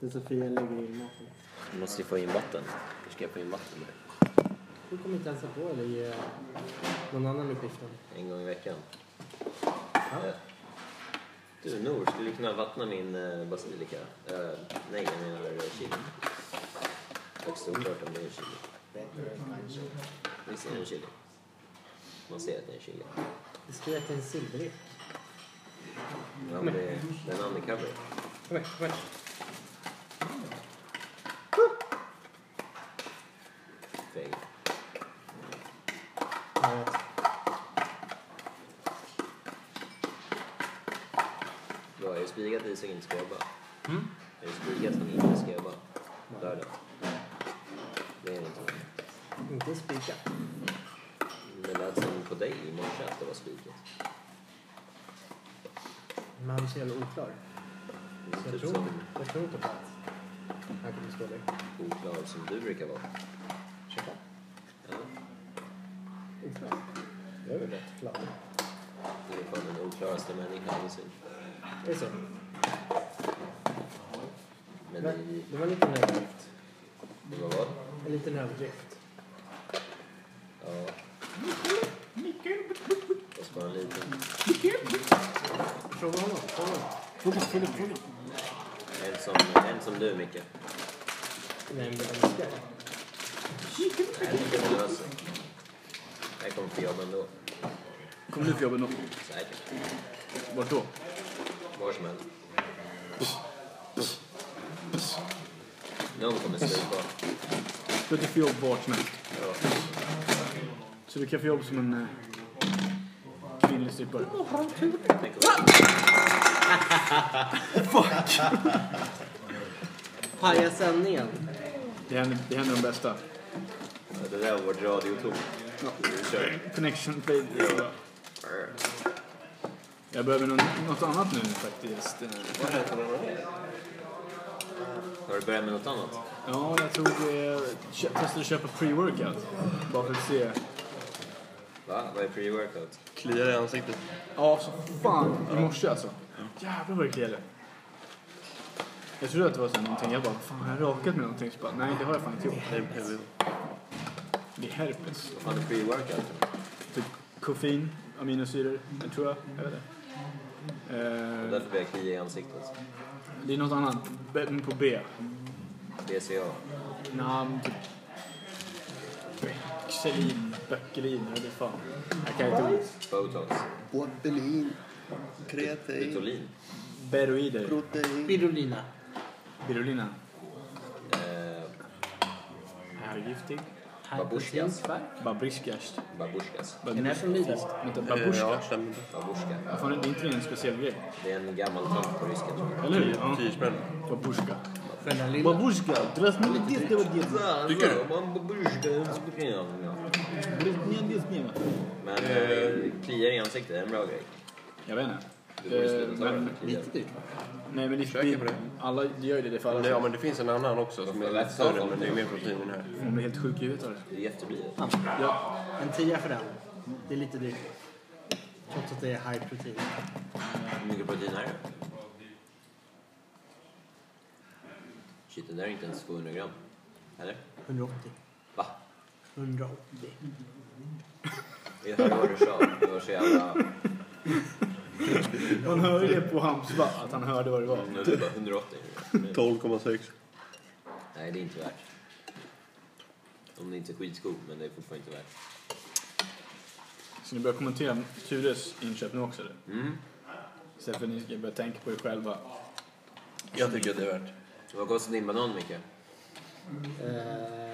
Det är Sofia lägger i maten. Du måste ju få in vatten. Hur ska jag få in vatten nu? Du kommer inte hälsa på eller ge någon annan uppgiften. En gång i veckan. Ja. Eh, Du Nor, skulle du kunna vattna min eh, basilika? Eh, nej, jag menar eh, chili. Högst oklart om det är en chili. Visst är det en chili? Man ser att det är en chili. Det ska jag till en silverik. Ja, men det, det är en undercover. Kom här, kom här. Feg. Ja, jag vet. Vad är det spikat i som inte ska jobba? Mm. Är det spikat som inte ska jobba? Lördag? Det är det inte. Inte spika. Det lät som på dig i morse att det var spikat. Men han är så jävla oklar. Det Så är jag Typ tror, som jag tror inte på att han kommer stå där. oklar som du brukar vara. Ursäkta? Ja. Oklar? Jag är väl rätt klar. Du är fan den oklaraste människan någonsin. Det är så. Men Men i... det var en liten överdrift. Det var vad? En liten överdrift. Ja. Fast bara en liten. Fråga honom. Fråga honom. En som, en som du, Micke. Nej, men vad ska jag? Nej, det kan du lösa. Jag kommer få jobb ändå. Kommer du få jobb ändå? Säkert. Vart då? Var som helst. Någon kommer stupa. Du kan få jobb vart som helst. Ja. Så du kan få jobb som en eh, kvinnlig strippare. Tänk om- Paja sändningen. Det händer, det händer de bästa. Ja, Det där var vårt radiotorn. Nu kör Connection play. vi. Jag behöver någon, något annat nu faktiskt. Eh, Har du börjat med något annat? Ja, jag tog... Eh, kö- testade att köpa pre-workout. Bara för att se. Va? Vad är pre-workout? Kliar i ansiktet. Ja, så fan. I morse alltså. Jävlar vad det kliade. Jag trodde att det var så här någonting. Jag bara, fan har jag rakat med någonting? Så bara, nej det har jag fan inte gjort. Här är PV. Det är herpes. Vad fan är pre-workout? Typ koffein, aminosyror, jag tror jag. Jag vet Det inte. är Eh, Därför blir jag klia i ansiktet. det är något annat B- på B. BCA. Namn, typ... Xelin, Böckelin, jag vet fan. Jag kan inte ord. Botox. Botelin. Kreatin. Vitolin. Beroider. Protein. Spirulina. Birulina. Eh, Herrgiftig. Babusjkas. Babriskas. Babusjkas. Är den här från Lidl? Vänta, Eh, babushka? Ja, stämmer. Babushka. Vad fan, det är inte det en speciell grej? Det är en gammal tant på ryska tror jag. Eller hur? Ja. Tyrsmän. Babushka. Själva lilla. Babushka! Здравствуйте, товарищ! Tycker du? Man babushka. Здравствуйте, смена! Men eh, kliar i ansiktet, det är en bra grej. Jag vet inte. Du borde Eh, sluta ta det men- här för kliar. dyrt. Nej men det, Försöker på det, det. alla det gör ju det, det är för alla. Men det- Ja, men det finns en annan också som är lite större, men det är mer protein i den här. Man blir helt sjuk i huvudet av det. Det är jätteblivet. Ja. En tia för den. Det är lite dyrt. Trots att det är high protein. Hur mycket protein är det? Shit, den där är inte ens 200 gram. Eller? 180. Va? 180. Jag hörde vad du sa. Det var så jävla... Man hör ju det på Hams va? Att han hörde vad det var. Nu är det bara 180. 12,6. Nej, det är inte värt. Om det inte är skitskog, men det är fortfarande inte värt. Så ni börjar kommentera Tures inköp nu också eller? Mm. Istället för att ni ska börja tänka på er själva. Jag tycker att det är värt. Vad kostar din banan, Micke? Eh,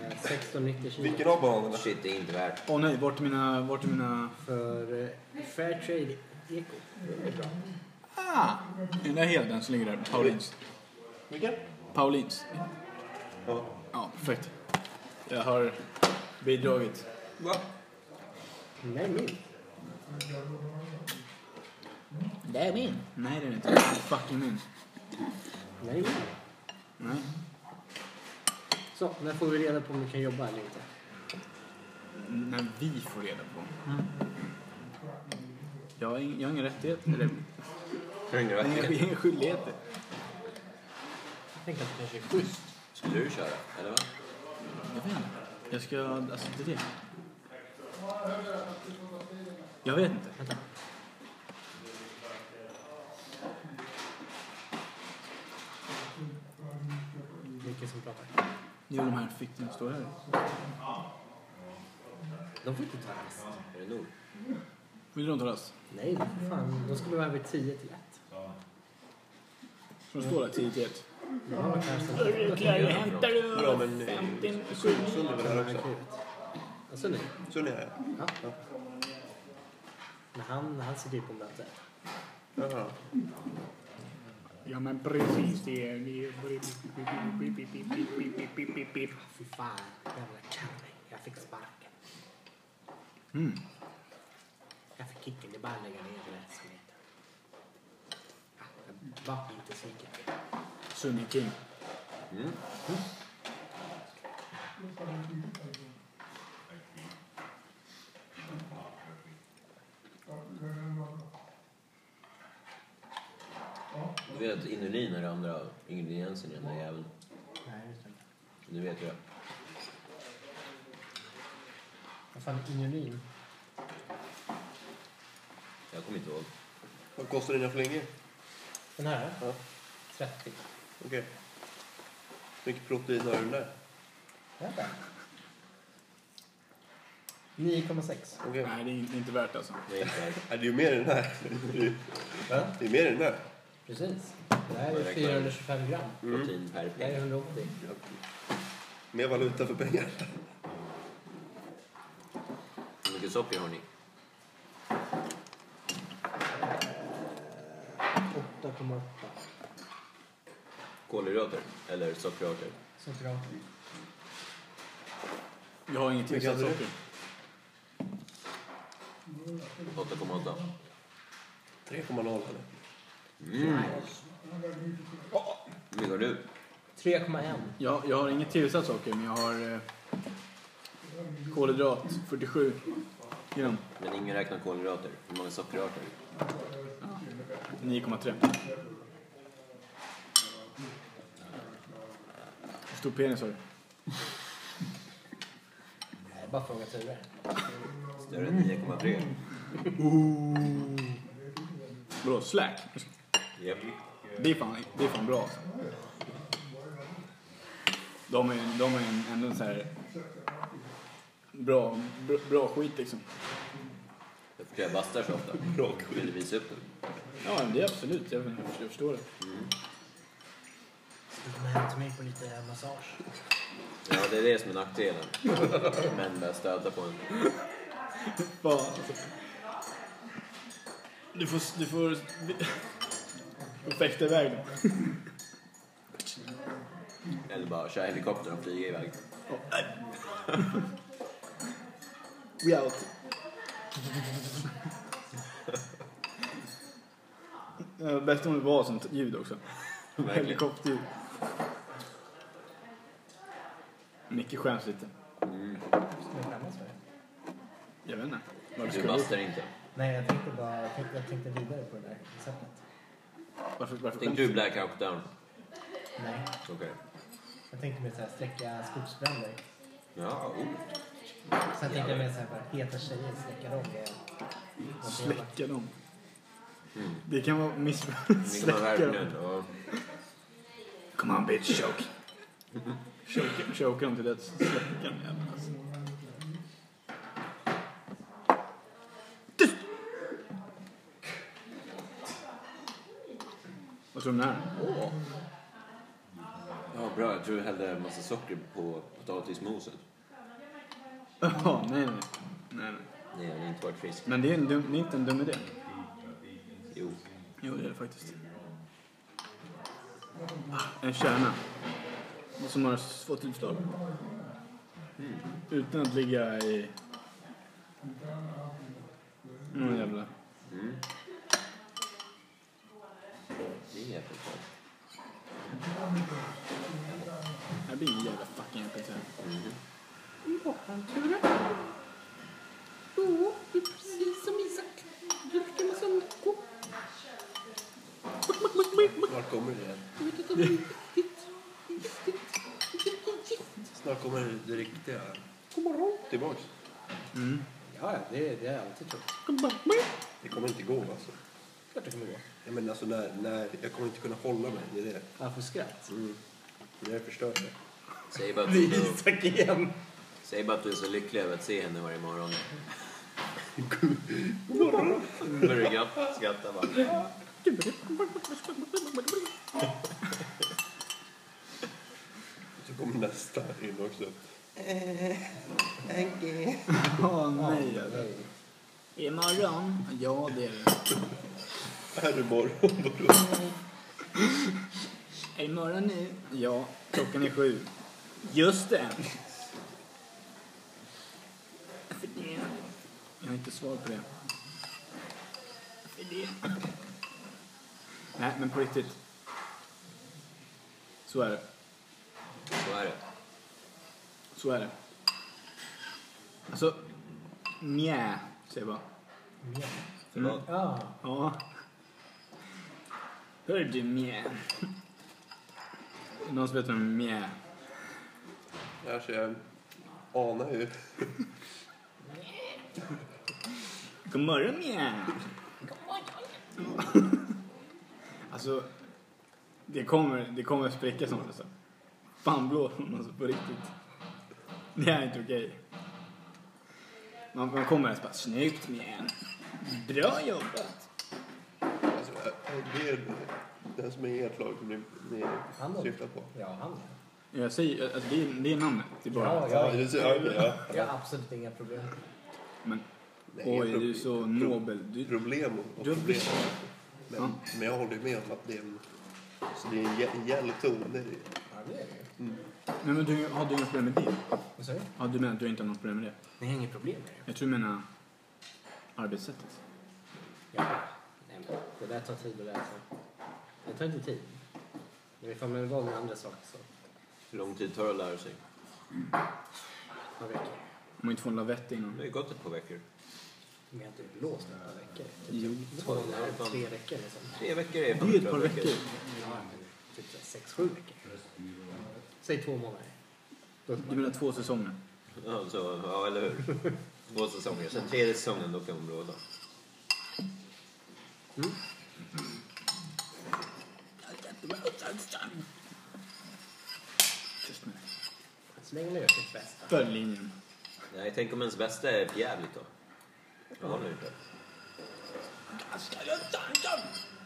1690 kilo. Vilken av bananerna? Shit, det är inte värt. Åh nej, vart är mina... Vart är mina... För eh, Fairtrade Eko. Det är bra. Ah! Är den där hel den som ligger där? Paulins. Vilken? Paulins. Ja. Ja, perfekt. Jag har bidragit. Va? Nej, min. Det är min. Nej det är inte. Det är fucking min. Nej, min. Nej. Så, när får vi reda på om vi kan jobba eller inte? När vi får reda på. Jag har ing- jag har ingen rättighet. Eller Hänger Nej, det jag har inga skyldigheter. Tänk att det kanske är schysst. Skulle du köra? Eller va? Jag vet inte. Jag ska... Alltså, det är det. Jag vet inte. Vänta. Vilken som pratar? Jo, de här fickorna står här. De får inte ta rast. Är det nog? Vill du inte ha rast? Nej, för fan. De skulle vara över 10 till 1. Som står där tidigt. ett. Ja, kanske. Hämtar du Bra, men nu- 50 Sund är väl här också? Alltså nu. Sund är här. Ja. Men han, han sitter ju på möte. Jaha. Ja, men precis det. Vi- vi- Fy fan, jävla kärring. Jag fick sparken. Mm. Jag fick kicken. Det är bara att lägga ner verksamheten. Ja, Jag var inte sviken. Sunny King. Du vet att inulin är det andra ingrediensen i den där jäveln. Nej, just det. Du vet ju det. Vad fan, inulin? Jag kommer inte ihåg. Vad kostar dina flingor? Den här? Ja. 30. Okej. Hur mycket protein har du där? Vänta. 9,6. Okej. Nej, det är inte- inte värt alltså. Nej, inte värt. Nej, Det är ju mer än den här. Va? Det är mer än den här. Precis. Det här är 425 gram. Protein per Det här är pengar. 180. Mer valuta för pengar. Hur mycket socker har ni? 8,8. Kolhydrater? Eller sockerarter? Sockerater. Jag har inget Vilka mixat hade du? socker. 8,8. 3,0 eller? Hur mycket har du? 3,1. Jag, jag har inget tillsatt socker, men jag har eh, kolhydrat 47 gram. Men ingen räknar kolhydrater. Hur många sockerarter? 9,3. Hur Stor penis har du. Nej, Bara fråga Ture. Större än 9,3. Vadå, slack? Japp. Det är fan, det är fan bra alltså. De är, de är en- ändå en så här bra, bra, bra skit liksom. Därför tror jag bastar så ofta. Vill du visa upp den? Ja, men det är absolut. Jag, jag förstår det. Du kommer hem till mig på lite massage. Ja, det är det som är nackdelen. Män börjar stöta på en. Fan, alltså. Du får... Du får... Du får fäkta iväg dem. Eller bara köra helikoptern och flyga iväg. We out. Eh, Bäst om det var sånt ljud också. Verkligen. Helikopterljud. Micke skäms lite. Ska jag skämmas för det? Jag vet inte. Varför Du ska vi- bastar inte. Nej, jag tänkte bara... Jag tänkte, jag tänkte vidare på det där receptet. Varför, varför skäms Tänkte du Black Hawk Down? Nej. Okej. Jag tänkte mer såhär släcka skogsbränder. Ja, oh. Sen tänkte jag mer såhär bara heta tjejer, släcka dem. Det är du? Släcka dem. Det kan vara miss... Nu Mm. kan man Släcka dem. verkligen... Ja. Come on bitch, choke. choke, choke dem till döds. Släcka dem jävlar, alltså. Tyst! Vad tror du om den här? Åh. ja, bra. Jag tror du hällde en massa socker på potatismoset. Jaha, nej, nej. nej, nej. Nej, det har inte varit frisk. Men det är, en dum, det är inte en dum idé. Jo. Jo, det är det faktiskt. Ah, En kärna. Som har fått utslag. Utan att ligga i... Någon jävla... Det är äppelkorv. Det blir en jävla fucking äppelkärna. i Bokhandturen. Jo, du är precis som Isak. Drack en massa Nocco. Vart kommer det? Jag vet att det var riktigt. Snart kommer det riktiga. God morgon. Tillbaks. Mm. Ja, ja, det, det är alltid så. God morgon. Det kommer inte gå alltså. Klart det kommer gå. Jag menar alltså när, när, jag kommer inte kunna hålla mig. Det är det. Han får skratt. Mm. Jag har förstört det. Säg bara, att Det du, är Isak igen. säg bara att du är så lycklig över att se henne varje morgon. Börjar gratta, skratta bara. Så kommer nästa in också. Åh nej. Imorgon? Ja, det är det. Är det morgon? Är det morgon nu? Ja, klockan är sju. Just det. För det. Jag har inte svar på det. För det. Nej, men på riktigt. Så är det. Så är det. Så är det. Alltså, nja, säger jag bara. Förlåt. Ja. Ja. Hör du mjä. Någon som vet vem mjä Alltså jag anar ju. God morgon mjä. alltså, det kommer, det kommer att spricka snart alltså. Fan blå alltså på riktigt. Det här är inte okej. Man, man kommer ens bara, snyggt mjä. Bra jobbat. Alltså, är det den som är i ert lag som ni, ni Han syftar på? Ja, han. Jag säger, alltså, det, är, det är namnet. Det är bara. Ja, Ja, jag, det ser jag. Ja. jag har absolut inga problem. Men, Nej, oj, pro- du är så pro- nobel. Du, Problem och och Du har problem. blivit- Men, Ja. men jag håller ju med om att det är en, så det är en gä- en gäll ton. Det är, det. Ja, det är det ju. Nej, men du, har du inga problem med det? Vad sa du? Ja, du menar att du inte har något problem med det? Ni har inget problem med det? Jag tror du menar arbetssättet. Ja. Nej, men det där tar tid att läsa. Det tar inte tid. Men ifall man är van med andra saker så Hur lång tid tar det att lära sig? man veckor. Om man inte får en lavett innan. Det har ju gått ett par veckor. Men jag har inte blåst några veckor. Typ Jo. Två, eller tre veckor liksom. Tre veckor är Det är ju ett par veckor. Ja, men typ så här sex, sju veckor. Säg två månader. Då Du menar två säsonger? Ja, så, ja, eller hur? Två säsonger. Sen tredje säsongen, då kan hon blåsa. Tyst med dig. Så länge man gör sitt bästa. Följ linjen. Nej, tänk om ens bästa är för jävligt då. Det håller ju inte.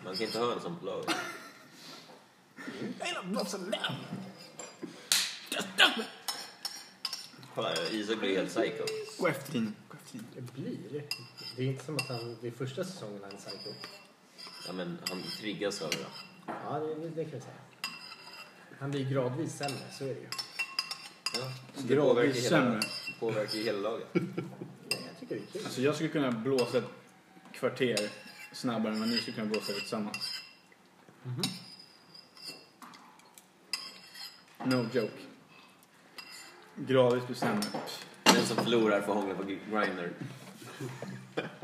Man kan inte ha en sån på laget. Kolla, Isak blir helt psycho. Gå efter linjen. Gå efter linjen. Det blir. Det är inte som att han vid första säsongen var en psycho. Ja, men han triggas av det. då. Ja, det, det kan vi säga. Han blir gradvis sämre, så är det ju. Ja, så det Gradvis påverkar sämre. hela, påverkar ju hela laget. Nej, jag tycker det är kul. Alltså jag skulle kunna blåsa ett kvarter snabbare än vad ni skulle kunna blåsa det tillsammans. Mhm. No joke. Gradvis blir sämre. Pff. Den som förlorar får hångla på Grindr.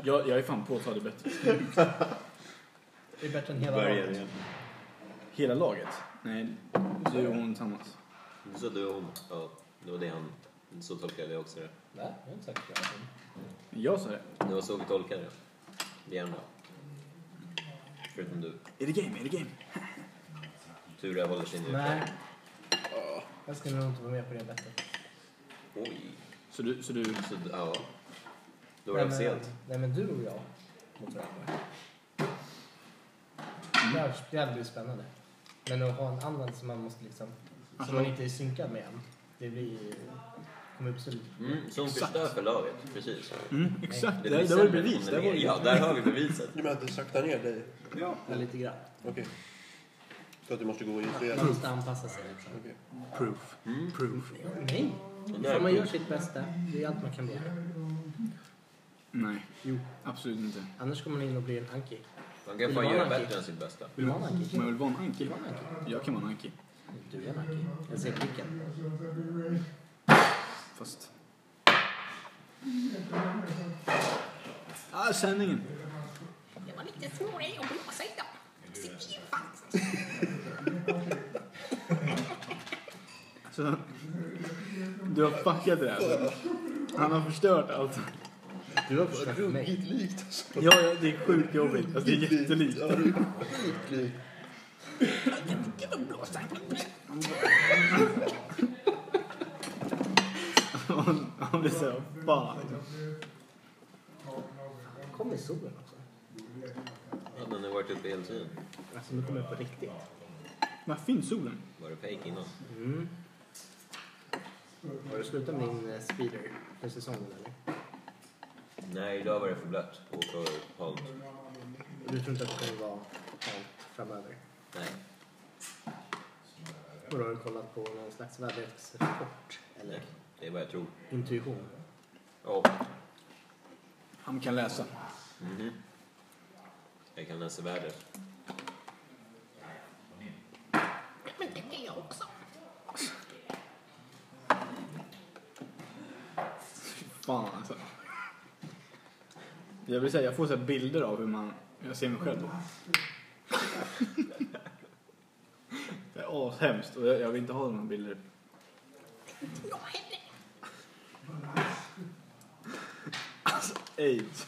Jag, jag är fan påtagligt bättre. Det är bättre än hela Börjar laget. igen. Hela laget? Nej, du och hon tillsammans. Så du och hon. Ja, det var det han... Så tolkade jag också det. Nej, jag har inte sagt det. Jag sa det. Det var så vi tolkade det. Vi andra. Förutom du. Är det game? Är det game? Tur jag håller sig nu. Nej. Jag skulle nog inte vara med på det bättre. Oj. Så du, så du... Så, ja. Då var det för sent. Nej, men du och jag mot varandra. Det hade- Det hade blivit spännande. Men att ha en annan som man måste liksom... Alltså- Som man inte är synkad med än. Det blir... kommer uppstå lite Mm, som förstör för laget. Precis. Mm, exakt. Det Det, blir det, var sämre bevis. om Det var är- Ja, där har vi beviset. Du menar att det saktar ner dig? ja. Ja, lite grann. Okej. Så att du måste gå in fler? Man måste anpassa sig. Liksom. Okej. Proof. Proof. Nej, Och för man gör där, sitt bästa. Det är allt man kan begära. Nej, Jo. absolut inte. Annars kommer man in och blir en anki. man kan fan göra bättre än sitt bästa. Vill du vara en anki? Men jag vill vara en anki. Vill du vara en anki? Jag kan vara en anki. Du är en anki. Jag ser blicken. Fast... Ah, sändningen. Jag var lite snårig och blåsa idag. Se, det är ju faktiskt. Så, du har fuckat det här. Han har förstört allt. Du har förstört mig. Ruggigt likt alltså. Ja, ja, det är sjukt jobbigt. Alltså, det är jättelikt. Ja, det är sjukt likt. Han- Han blir så här, fan. liksom. Kommer solen också? Hade ni varit uppe hela tiden? Alltså nu kommer jag på riktigt. Var finns solen? Var det fake innan? Mm. Har du slutat med din eh, speeder för säsongen eller? Nej, idag var det för blött och för Och halt. Du tror inte att det kommer vara kallt framöver? Nej, Och då har du kollat på någon slags väderleksrapport? Eller nej. Det är vad jag tror. intuition? Ja. Han kan läsa. Mhm. Jag kan läsa vädret. Men det kan jag också. Fan alltså. Jag vill säga, jag får så här bilder av hur man... Jag ser mig själv då. Det är ashemskt och jag, jag vill inte ha några bilder. Inte jag heller. Aids.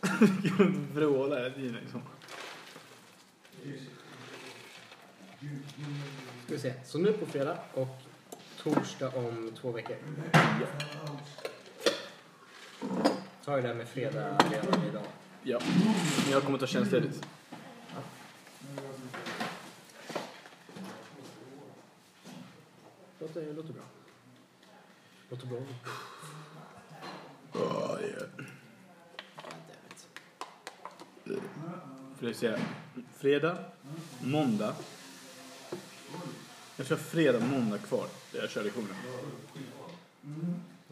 Jag kan inte vråla hela tiden liksom. Ska vi se. Så nu på fredag och torsdag om två veckor. Ta ju det här med fredag redan idag. Ja. Men jag kommer ta tjänstledigt. Låter, låter bra. Låter bra. För det säga, fredag, måndag. Jag kör fredag, måndag kvar. Där jag kör lektionen.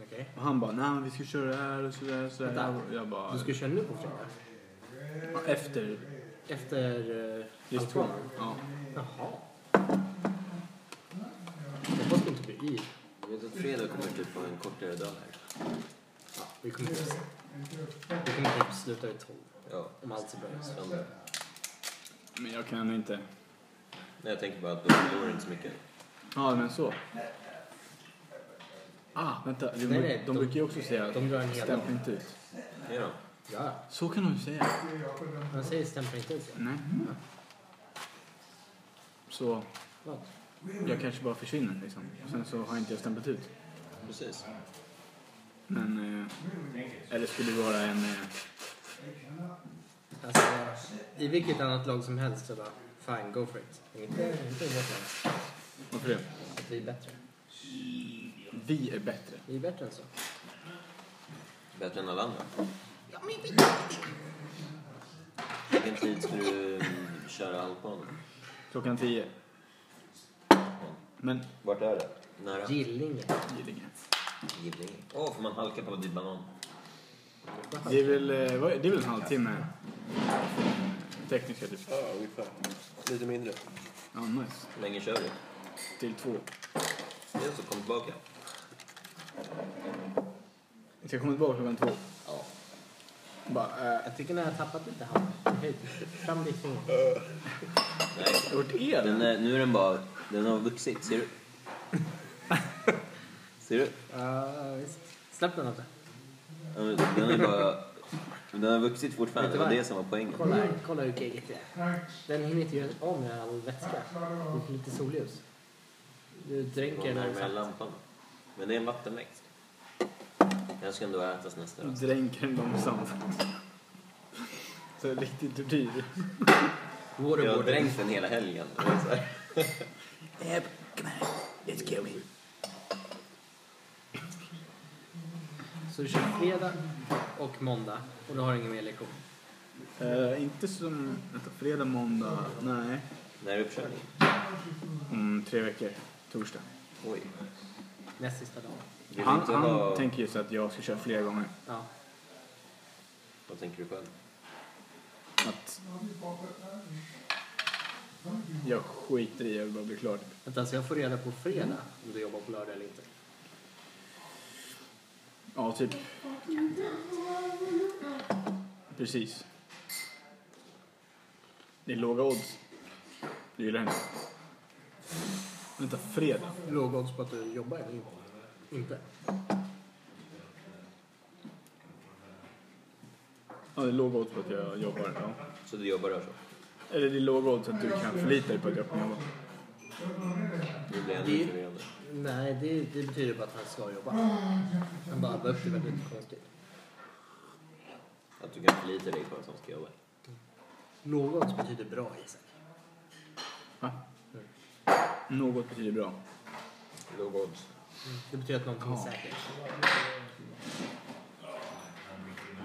Okej. Och han bara, nej men vi ska köra det här och sådär och sådär. Vänta. Och jag bara, Du ska köra nu på fredag? efter Efter uh, lektionen. Ja. Jaha. Jag hoppas det inte blir yr. Jag vet att fredag kommer typ vara en kortare dag här. Ja, vi kommer typ, vi kommer typ sluta vid tolv. Ja. Om allt ser bra ut. Söndag. Men jag kan ändå inte. Nej, jag tänker bara att då förlorar inte så mycket. Ja men så. Ah, vänta. De, Nej, nej, de de- brukar ju också säga, de gör en hel stämpla dag. inte ut. Ja, då. Ja, Så kan de ju säga. han säger stämpla inte ut. Nej. Så Vad? jag kanske bara försvinner liksom. Och sen så har inte jag stämplat ut. precis. Men, eh, eller skulle det vara en... Eh, Alltså, i vilket annat lag som helst så bara, fine, go for it. Men Inte, inte i vårt lag. varför det? Att vi är bättre. Vi är bättre. Vi är bättre än så. Bättre än alla andra. Ja, men vi kan Vilken tid ska du mm, köra halkbanan? Klockan tio. Men... Vart är det? Nära. Gillinge. Gillinge. Gillinge. Åh, får man halka på din banan? Det är väl, eh, vad är- det är väl en halvtimme? Tekniska typ. Ja, ungefär. Lite mindre. Ja, nice. Hur länge kör du? Till två. Det är så, kom tillbaka. Jag ska komma tillbaka klockan två. Ja. Bara, eh, Jag tycker ni har tappat lite hand. Höjd. Fram ditt finger. Nej. vart är den? Den är, nu är den bara... Den har vuxit, ser du? ser du? Ja, visst. Släpp den inte. Ja, men Den är bara... men Den har vuxit fortfarande, det var det som var poängen. Kolla, här, kolla hur geggigt det är. Den hinner inte göra av med all vätska. Det är lite solljus. Du dränker den Den var här närmare saft. lampan. Men det är en vattenväxt. Den ska ändå ätas nästa rast. Dränker den långsamt. Så riktigt tortyr. Jag har Waterboarding. dränkt den hela helgen. Det är så här. Let's go in. Så du kör fredag och måndag och du har ingen mer lektion. Eh, inte som... Vänta, fredag, måndag. Nej. När är uppkörningen? Om tre veckor. Torsdag. Oj. Näst sista dagen. Vill du Han, inte han ha- tänker ju så att jag ska köra flera gånger. Ja. Vad tänker du själv? Att... Jag skiter i, jag vill bara bli klar. typ. Vänta, så jag får reda på fredag om du jobbar på lördag eller inte. Ja, typ. Precis. Det är låga odds. Du gillar henne. Vänta, fredag? Låg odds på att du jobbar eller inte? Inte? Ja, det är låga odds på att jag jobbar. Ja. Så du jobbar där så? Eller det är låga odds att du kan förlita dig på att jag kommer jobba. Nu blir jag Det- ännu förvirrande. Nej, det, det betyder bara att han ska jobba. Han bara upp det väldigt konstigt. Att du kan förlita dig på att de ska jobba. Låg odds betyder bra Isak. Va? Något betyder bra. Låg odds. Det betyder att någonting är säkert.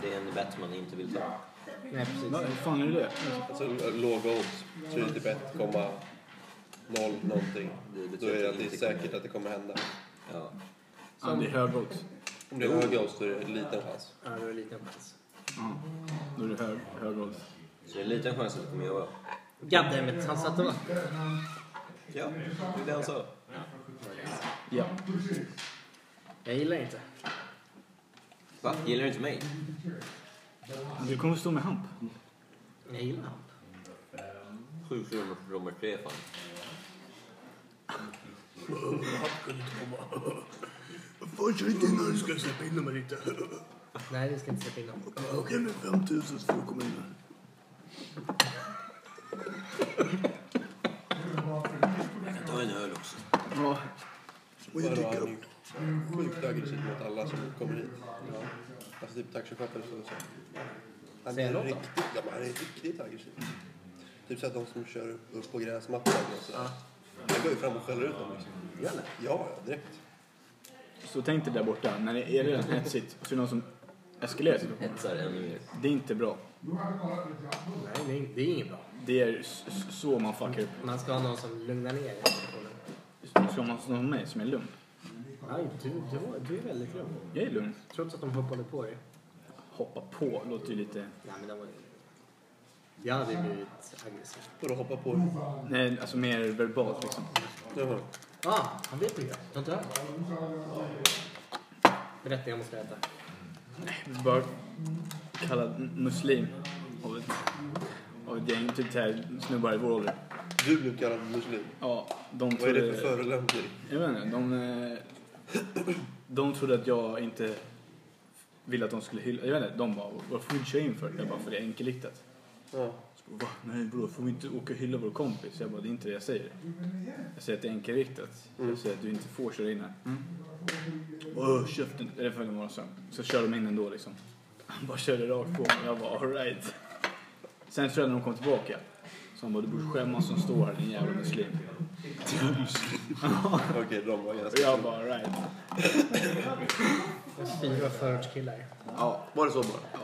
Det är en bet man inte vill ta. Nej, precis. Va, hur fan är det det? Alltså låga odds, så är det typ 1,0 någonting. Det betyder Då är det att att det inte är kommer säkert hända. att det kommer hända. Ja. Ja, det är höga odds. Om det är höga odds då är det en liten chans. Ja, det var en liten chans. Ja. Då är det hög, höga odds. Så det är en liten chans att du kommer jobba. Goddammit, han satte va? Ja, det är det han sa. Ja. Jag gillar inte. Va? Gillar du inte mig? Du kommer stå med hamp. Jag gillar han. Sju kronor för nummer tre fan. Fan, kör inte in nu. Ska jag släppa in dem eller inte? Nej, vi ska inte släppa in honom. Okej, men 5000 så får du komma in här. Jag tar en öl också. Ja. Och jag tycker han är sjukt aggressiv mot alla som kommer hit. Alltså typ taxichaufförer och så. Alltså, Han Säger är han något då? riktigt, ja, men han är riktigt aggressiv. Typ såhär de som kör upp på gräsmattan och sådär. Jag går ju fram och skäller ut dem liksom. Ja, ja, direkt. Så tänk dig där borta, när det är redan hetsigt så är det någon som eskalerar situationen. Hetsar ännu mer. Det är inte bra. Nej, det är- det är inget bra. Det är s- s- så man fuckar upp. Man ska ha någon som lugnar ner situationen. Som man som mig som är lugn. Nej, du, du, var- du är väldigt lugn. Jag är lugn. Trots att de hoppade på dig. Hoppa på låter ju lite... Nej, men det var ju... Jag hade ju blivit aggressiv. Och då hoppar på dig. Nej, alltså mer verbalt liksom. Jaha. Ah, han vet inte. Jag har inte hört. Berätta, jag måste äta. Bara kallad m- muslim av ett, av ett gäng, typ så här snubbar i vår ålder. Du blev kallad muslim. Ja, de Vad är trodde... det för förolämpning? Jag vet inte, de... eh, De trodde att jag inte ville att de skulle hylla... Jag vet inte, de bara, varför vill du köra in för? Jag bara, för det är enkelriktat. Ja. Så bara, Va? Nej bror, får vi inte åka och hylla vår kompis? Jag bara, det är inte det jag säger. Jag säger att det är enkelriktat. Mm. Jag säger att du inte får köra in här. Åh, käften! Eller för en morgon sen. Så kör de in ändå liksom. Han bara körde rakt på mig. Jag bara, alright. Sen tror jag när de kom tillbaka. Så han bara, du borde skämmas som står här din jävla muslim. Okej, de var Och ganska... jag bara, alright. Fyra förortskillar. Ja, Var det så bara?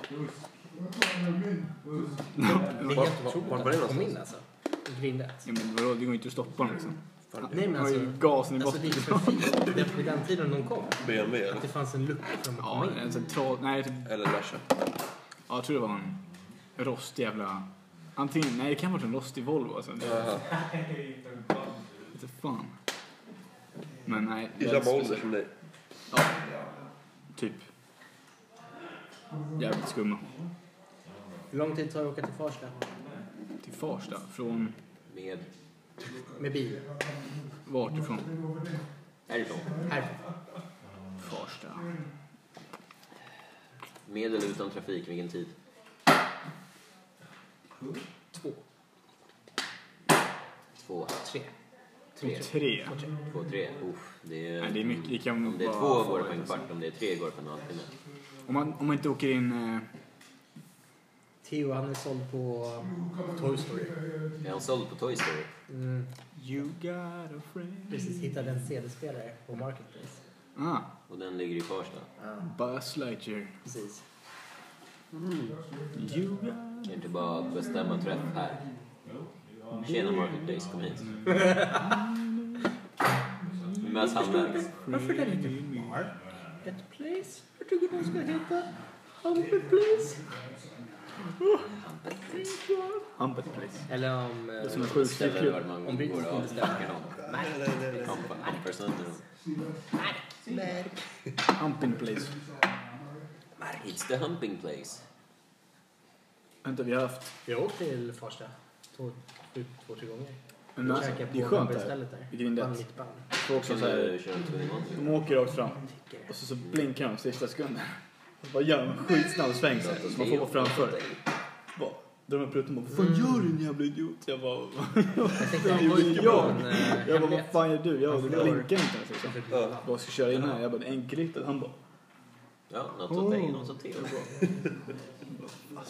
Det är helt otroligt att de kom in alltså. Grindet. Ja, men vadå, det går ju inte att stoppa dem liksom. Nej, men Han har ju alltså- gasen i Alltså det botten. är för fint. Det- Vid den tiden de kom. BMW eller? Att det fanns en lucka för dem att Ja, komma in. en central... Nej, typ, Eller Russia. ja, jag tror det var en rostig jävla... Antingen... Nej, det kan ha varit en rostig Volvo alltså. Jaha. Inte fan. Men nej. I jävligt samma ålder speciellt. som dig. Ja. Typ. Jävligt skumma. Hur lång tid tar det att åka till Farsta? Till Farsta? Från... Med Med bil? Vart ifrån? härifrån. Här. Farsta. Med eller utan trafik, vilken tid? Två. Två, Tre. tre, Tre. två, tre. Uff, det är... Nej, det är mycket. Det kan Om det är vara- två går det på en kvart, om det är tre går det på en halvtimme. Om man, om man inte åker in... Eh, Theo han är såld på Toy Story. Är han såld på Toy Story? Mm, you got a friend. precis hittade en CD-spelare på Marketplace. Ah, Och den ligger i Farsta. Buzz Lightyear. Precis. You got... Kan inte bara bestämma träff här? Tjena Marketplace, kom hit. Vi möts halvvägs. Varför den heter Marketplace? Jag tycker den ska heta Humperplace. Humpet place. Eller om... eh, Det är som en sjukskrivning. Ställer var man Om vi går inte av. bestämmer. Nej, nej, nej, nej. Kampa, kampar sönder dem. Humping place. It's the humping place. Vänta, vi har haft... Jag åkte till Farsta. två, typ två, tre gånger. Men alltså, Käkar det är på skönt där. pappersstället där. Det är grindet. Fan, mitt band. Får också Kan så här, du köra en de tunnelbana? åker rakt fram Tickar. och så, så blinkar de sista sekunden. Och bara gör en skitsnabb sväng så här, så man får gå framför. Bara drar de upp rutan och bara Vad fan gör du din jävla idiot? Jag bara Jag tänkte Det är han var ju ute på jag. en eh, Jag bara, vad hemlighet. fan gör du? Jag Han bara, du förlorar. blinkar inte ens liksom. Ja. Jag bara, ska köra in här. Jag bara, det är enkelriktat. Han bara, Ja, något åt dig, något åt er. Oh.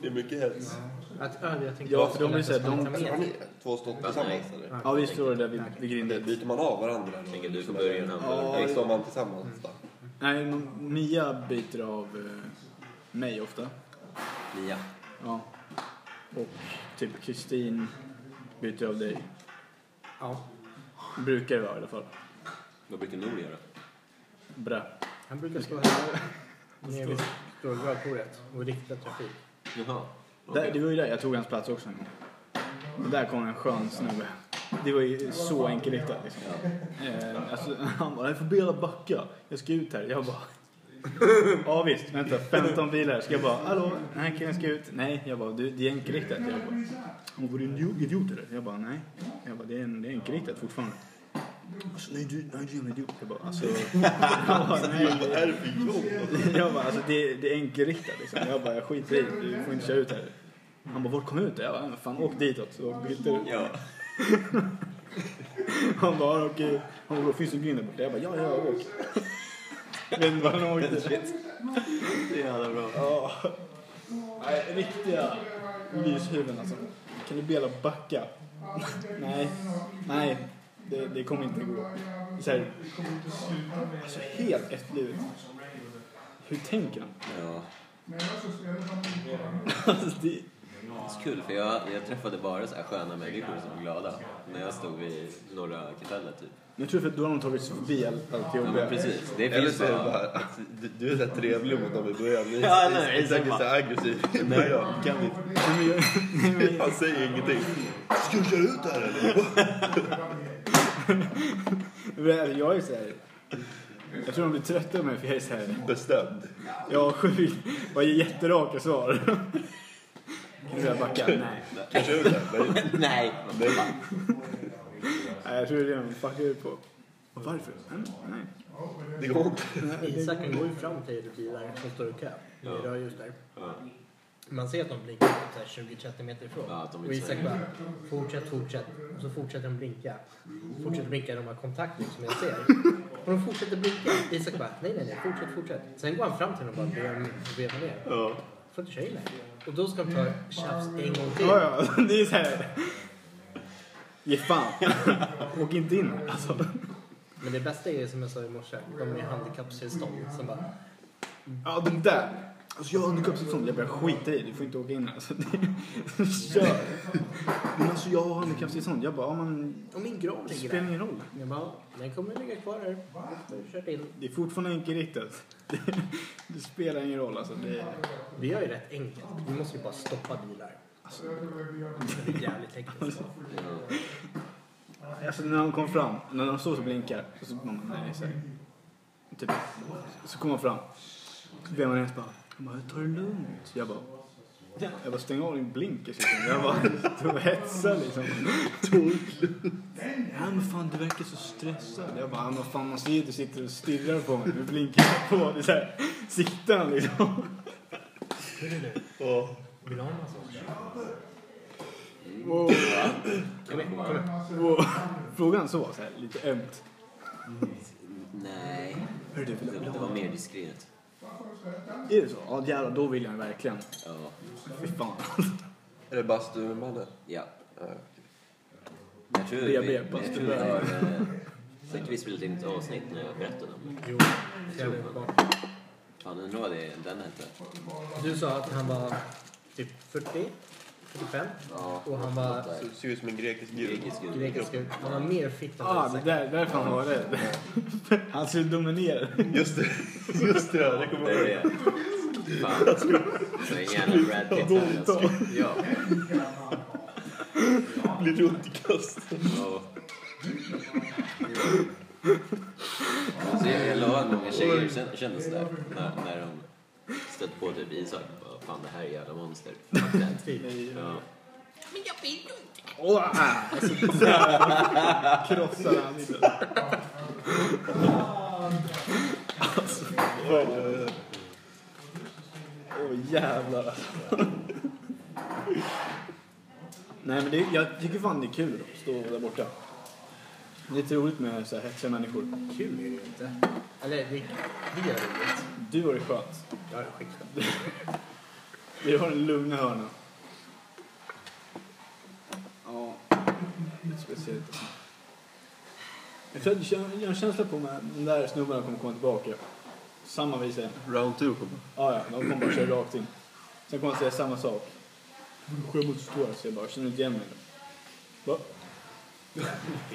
Det är mycket hets. Att, ja, jag tänkte Ja, att för skulle de är så här, att jag de- skulle ta Har med. ni två stått tillsammans eller? ja vi står där vid, vid grindet. Byter man av varandra? eller? Tänker du får börja innan. Ja, Eller det- står man tillsammans då? Nej, men Mia byter av eh, mig ofta. Mia. Ja. Och typ Kristin byter av dig. Ja, Brukar det vara i alla fall. Vad brukar Nour göra? Bra. han brukar stå här nere vid stålrörkoret och rikta trafik. Jaha. okej. Där, det var ju där jag tog hans plats också en gång. Och Där kom en skön snubbe. Det var ju så enkelriktat liksom. Eh, alltså, han bara, jag får be alla backa. Jag ska ut här. Jag bara, ja visst, vänta, 15 bilar. Ska jag bara, hallå, den här killen ska ut. Nej, jag bara, du, det är enkelriktat. Jag bara, hon var du en idio- idiot eller? Jag bara, nej. Jag bara, det är, en- det är enkelriktat fortfarande. Alltså, nej du, nej du är en idiot. Jag bara, alltså. Jag bara, nej. Vad är det för jobb? Jag bara, alltså det, det är enkelriktat liksom. Jag bara, jag skiter i det. Du får inte köra ut här. Han bara, vart kom jag ut? Jag bara, men fan åk ditåt så byter du. Ja. Han bara, okej. Han bara, finns det en grind där borta? Jag bara, ja, ja, åk. Vet inte var han åkte. Det är jävla bra. Ja. Nej, riktiga myshuvuden alltså. Kan du be alla backa? Nej, nej. Det, det kommer inte gå. Så här, alltså helt efterblivet. Hur tänker han? Ja. Alltså, det, Det är så kul för jag, jag träffade bara så här sköna människor som var glada när jag stod vid Norra Kapellet typ. Men Jag tror för att då har de tagit sig förbi allt, allt Ja jobbiga. men precis, det Eller finns så är det bara... bara att du- du är så här trevlig mot dem i början. Ni Ja, ni- nej, ni sen är så bara- här aggressiv i början. Kan vi- Han säger ingenting. Ska du köra ut det här eller? Men jag är så här. Jag tror de blir trötta på mig för jag är så här. Bestämd. Jag har sjukt, bara ger jätteraka svar. Kan du börja backa? Nej. Kan du köra ut det här? Nej. Nej! Nej. Nej, jag tror det är det de fuckar ut på. Varför? Nej, Nej. Det går inte. Isak han går ju fram till bilar som står i kö. Det är rörljus där. Ja. Man ser att de blinkar typ så här 20-30 meter ifrån. Ja, att de och inte Isak ser. bara, fortsätt, fortsätt. Och så fortsätter de blinka. Fortsätter blinka, de har kontakt nu som jag ser. Och de fortsätter blinka. Isak bara, nej, nej, nej, fortsätt, fortsätt. Sen går han fram till dem och bara ber dem veva ner. Ja. Får inte köra in här. Och då ska de ta tjafs en gång till. Ja, ja, det är så här. Ge fan. Åk inte in här, alltså. Men det bästa är ju som jag sa i morse, de är i handikapptillstånd. Som bara, Ja, det där. Alltså jag har handikapptillstånd. Jag bara skita i det. Du får inte åka in här. Alltså, det... Kör. Men alltså jag har handikapptillstånd. Jag bara, ja men och min grav det ligger spelar där. ingen roll. Jag bara, den kommer ligga kvar här. Jag har kört in. Det är fortfarande enkelriktat. Det, det spelar ingen roll alltså. Det, Vi har ju rätt enkelt. Vi måste ju bara stoppa bilar. Alltså, det är jävligt enkelt. alltså när de kom fram, när de står och blinkar. Och så, man, bara, nej, så, här. typ, så kom de fram. Så vem man ens bara, jag bara, ta det lugnt. Jag bara, jag bara stäng av din blinkers liksom. Jag bara, du hetsar liksom. Ja men fan du verkar så stressad. Jag bara, ja, men fan man ser ju att du sitter och stirrar på mig. Du blinkar på. Det är så här, siktar han liksom. Hur är det nu? Ja. Vill du ha en massage? Wow. Kom igen, kom igen. Wow. Frågan så, så här, lite ömt. Nej. Hörru du, vill Det du- vill du det ha- var mer diskret. Är det så? Ja jävlar, då vill jag verkligen. Ja. Fy fan. Är det bastumannen? Ja. Ja, okej. Jag tror vi, Be- be- jag tror bastu- vi har... eh, Har inte vi spelat in ett avsnitt när jag berättade om det? Jo, jävligt bra. Fan undrar vad det, den hette. Du sa att han var typ 40, 45 Ja. och han var Så- Ser ut som en grekisk gud. Grekisk gud. grekisk. ut. Han var mer fitt än Ah, det Isak. där, därför han var rädd. Han skulle dominera. Just det. Just det, ja, det kommer Det jag är ihåg. det. Fan. Så är gärna Brad Pitt här. Jag skulle- Ja. Blir runt i kast. Ja. Alltså jag, jag la många tjejer kän- kändes det när, när de stötte på typ Isak. Bara, Fan det här är jävla monster. Fuck that. Typ. Ja. Men jag vill ju inte. Åh, ah, jag sitter så här. Krossar ansiktet. Alltså, vad är det? Åh jävlar alltså. Nej men det, jag tycker fan det är kul att stå där borta. Det är lite roligt med så här hetsiga människor. Kul är det ju inte. Eller det, det är roligt. Du har det skönt. Jag är skickad. Vi har den lugna hörnan. Ja, lite speciellt. Jag tror att jag jag har en känsla på att de där snubbarna kommer komma tillbaka. Samma vis igen. Round two kommer. Ja, ja, de kommer bara köra rakt in. Sen kommer de säga samma sak. Jag måste stå här, så jag bara. Känner du inte igen mig? Va? Det är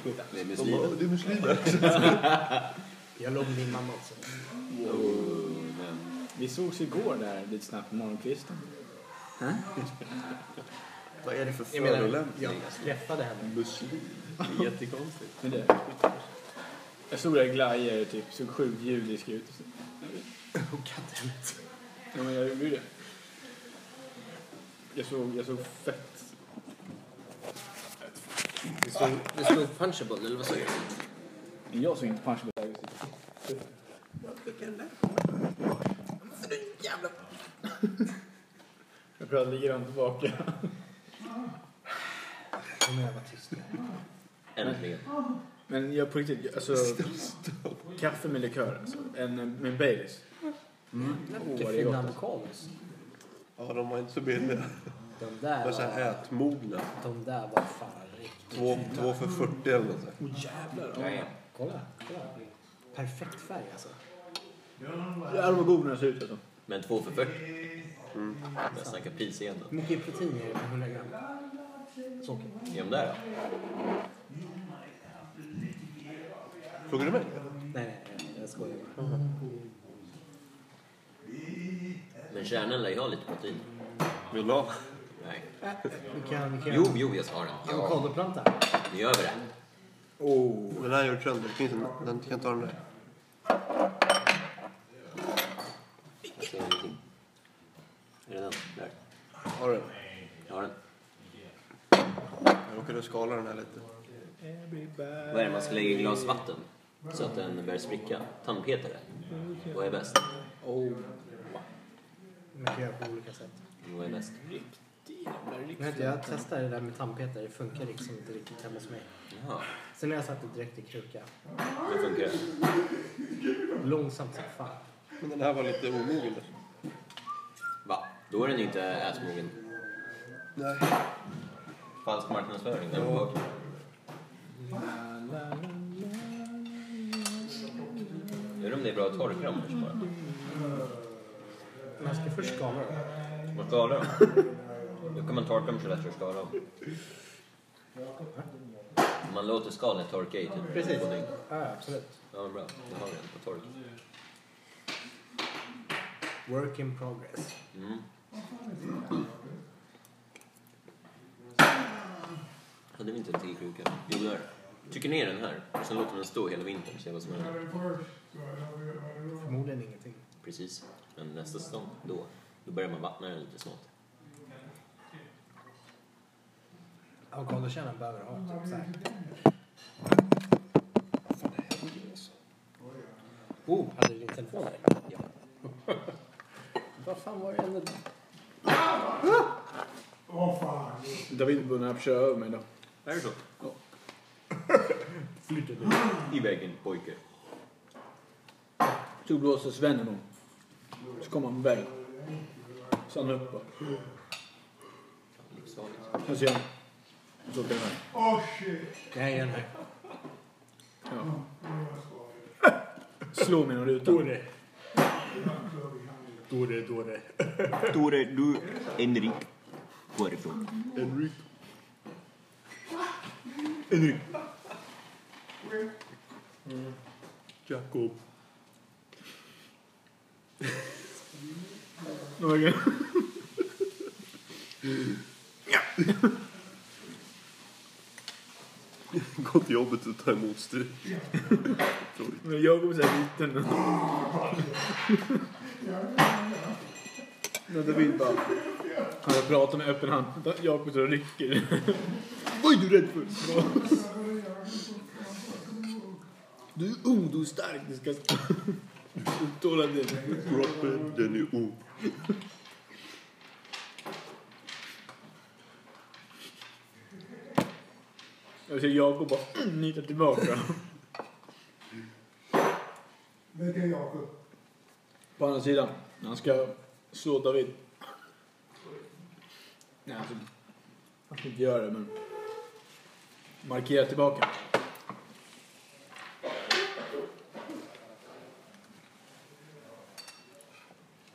De bara, muslimer. du är muslimer. Jag låg min mamma alltså. också. Oh, men Vi sågs igår där lite snabbt på morgonkvisten. vad är det för Jag menar, förolämpning? jag träffade henne. Muslim. Det är jättekonstigt. Men det... Jag stod där i glajjor, typ. Såg sjukt judisk ut. Oh, goddammit. Ja, men jag gjorde ju det. Jag såg, jag såg fett... Det stod, det stod punchable, eller vad sa du? Men jag såg inte punchbag ut. Jag tror jag ligger han tillbaka. Kom igen, var tyst nu. Äntligen. Men jag på riktigt, jag- alltså... Kaffe med likör, alltså. En eh, med Baileys. Åh, vad det är gott. Finland alltså. Carlos. Ja, de var inte så billiga. De De där var så var, här ätmogna. de där var fan riktigt. Två, två för 40 eller något. så här. Kolla, kolla. Perfekt färg alltså. Jävlar vad god den här ser ut alltså. Men två för 40. Jag snackar pris igen då. Hur mycket protein är det på 100 gram? Socker. Är de där då? Frågar du mig? Nej, nej, nej, jag skojar bara. Men kärnan lär ju ha lite protein. Vill du ha? Nej. Vi kan, vi kan... Jo, jo, jag tar den. Ja, Avokadoplanta. nu gör vi det. Oh. Den här gör trend. Det finns en. Den kan ta den där. Jag ser ingenting. Är det den? Där. Har du den? Jag har den. Jag råkade skala den här lite. Vad är det man ska lägga i glas vatten? Så att den börjar spricka. Tandpetare. Vad är bäst? Oh. Man kan göra på olika sätt. Vad är bäst? Men vet du, jag testade det där med tandpetare. Det funkar liksom inte riktigt hemma hos mig. Jaha, Sen har jag satt det direkt i kruka. det funkar. Långsamt som fan. Men den här var lite omogen. Va? Då är den ju inte ätmogen. Nej. Falsk marknadsföring. Den var bak. Undrar om det är bra att torka dem först bara. Man ska först skala dem. Man skalar dem. Då kan man torka dem så lätt för att skala dem. Om Man låter skalet torka i typ Precis. två dygn. Ja, absolut. Ja, men bra. Då har vi den på tork. Work in progress. Mm. Hade vi inte en till kruka? Jo, där. Trycker ner den här och sen låter den stå hela vintern. Se vad som händer. Förmodligen ingenting. Precis. Men nästa säsong, då, då börjar man vattna den lite smått. Avokadokärnan behöver ha typ så här. Oh, hade du din telefon där? Ja. Vad fan var det ändå? David började köra över mig då. Är det så? Ja. I väggen, pojke. Tog blåser Sven en gång. Så kom han på vägen. Så han upp bara. Livsfarligt. Sen ser han. Och så åker den här. Jag är den här. Ja. Slå mig i någon ruta. det. Då det, då det. Tore, du, Henrik. Varifrån? Henrik. Henrik. Jakob. Okej. Gå till jobbet och ta emot stryk. Men jag kommer säga liten. nu. När David bara. Han pratar med öppen hand. Jakob så rycker. Vad är du rädd för? Bra. Du är ung, du är stark. Du ska uttåla det. Kroppen, den är o... Jag ser Jakob bara mm, nitar tillbaka. Vet jag Jakob? På andra sidan. Han ska slå David. Nej, alltså. Han ska inte göra det, men. Markera tillbaka.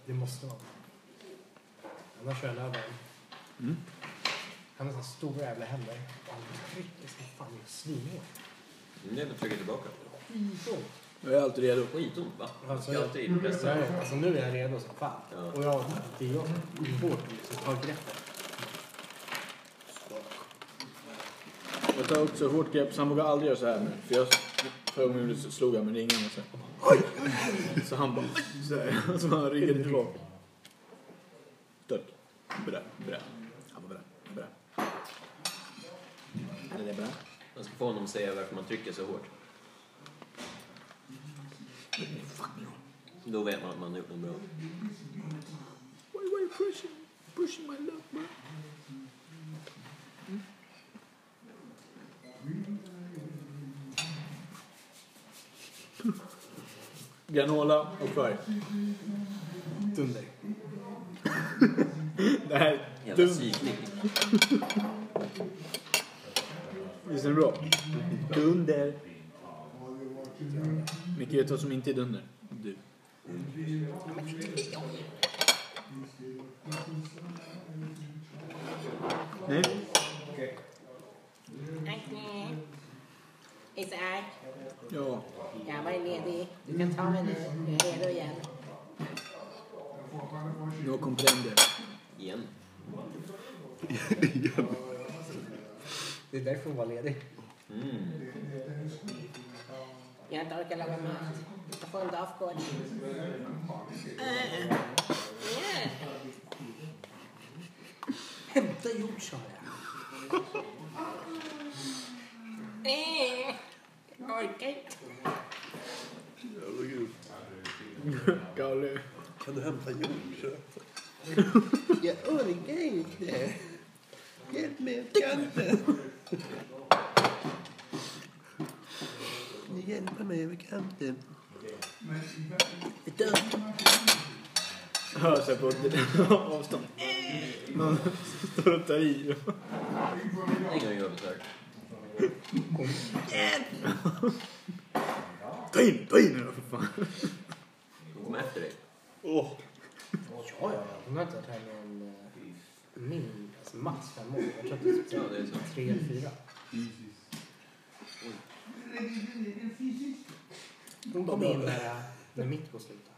Det måste vara Annars kör jag över mm. Han har såna stora jävla händer. Och Han trycker som fan i svinhårt. Nu är det trycker tillbaka. Skitont. Jag är alltid redo. Skitont va? Alltså, Jag är jag- alltid Så pressad. är det. Alltså nu är jag redo som fan. Ja. Och jag, det är jag som är hårt liksom, tar greppet. Jag tar också ett hårt grepp så han vågar aldrig göra så här nu. För jag, förra gången jag gjorde så slog jag med ringarna så här. Så han bara "Oj!" så här. Så han ryggade tillbaka. Stört. Bra, bra. Han bara bra, bra. Är det bra? Man ska få honom att säga varför man trycker så hårt. Då vet man att man har gjort något bra. Why, why pushing? Pushing my luck man. Granola och färg. Dunder. Det här är Jävla dumt. psykning. Visst är det bra? Dunder. Micke, vet du vad som inte är dunder? Du. Nej. Acne. Isak, Ja. jag var ledig. Du kan ta mig nu. Jag är redo igen. No comprende. Igen. Det är därför hon var ledig. Jag inte orkar laga mat. Jag får en dagkod. Hämta jord sa jag. Nej, Eh, jag orkar inte. Jävla gud. Galle. Kan du hämta jord? Jag orkar inte. Hjälp mig, kanten! Kan du hjälpa mig över kanten? Hör sig på avstånd. Någon står och tar i. En gång gör vi så här. Ta in, ta in nu då, för fan. De kommer efter dig. Ja, ja, ja. Hon har inte varit här med en eh, min, alltså max fem år. Jag tror att det är typ Ja, det är så. tre eller fyra. Hon kom in där när mitt går sluta.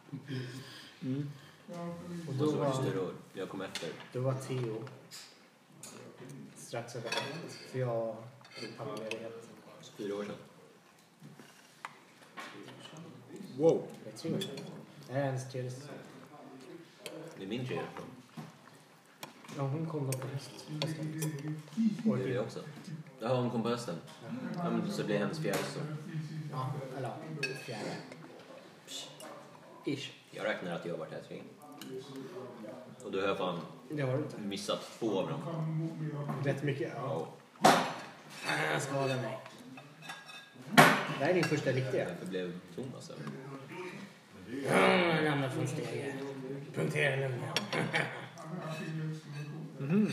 Och Och då så just det var, rör. Jag kommer efter. då var Theo strax över ett. För jag tog pappaledighet. Fyra år sedan. Wow. Det är tre år sedan. Det här är hennes tredje säsong. Det är min tredje från. Ja, hon kom då på hösten. hösten. Det är det också. Jaha, hon kom på hösten. Ja, men så blir det hennes fjärde så. Ja, eller ja, fjärde. Ish. Jag räknar att jag har varit här tre. Och du har jag fan Det har du inte. missat två av dem. Rätt mycket. Ja. Ja, Jag skadar mig. Det här är din första riktiga. därför blev Thomas över. Jag ramlade från steget. Punkterade lungorna. Mm-hmm.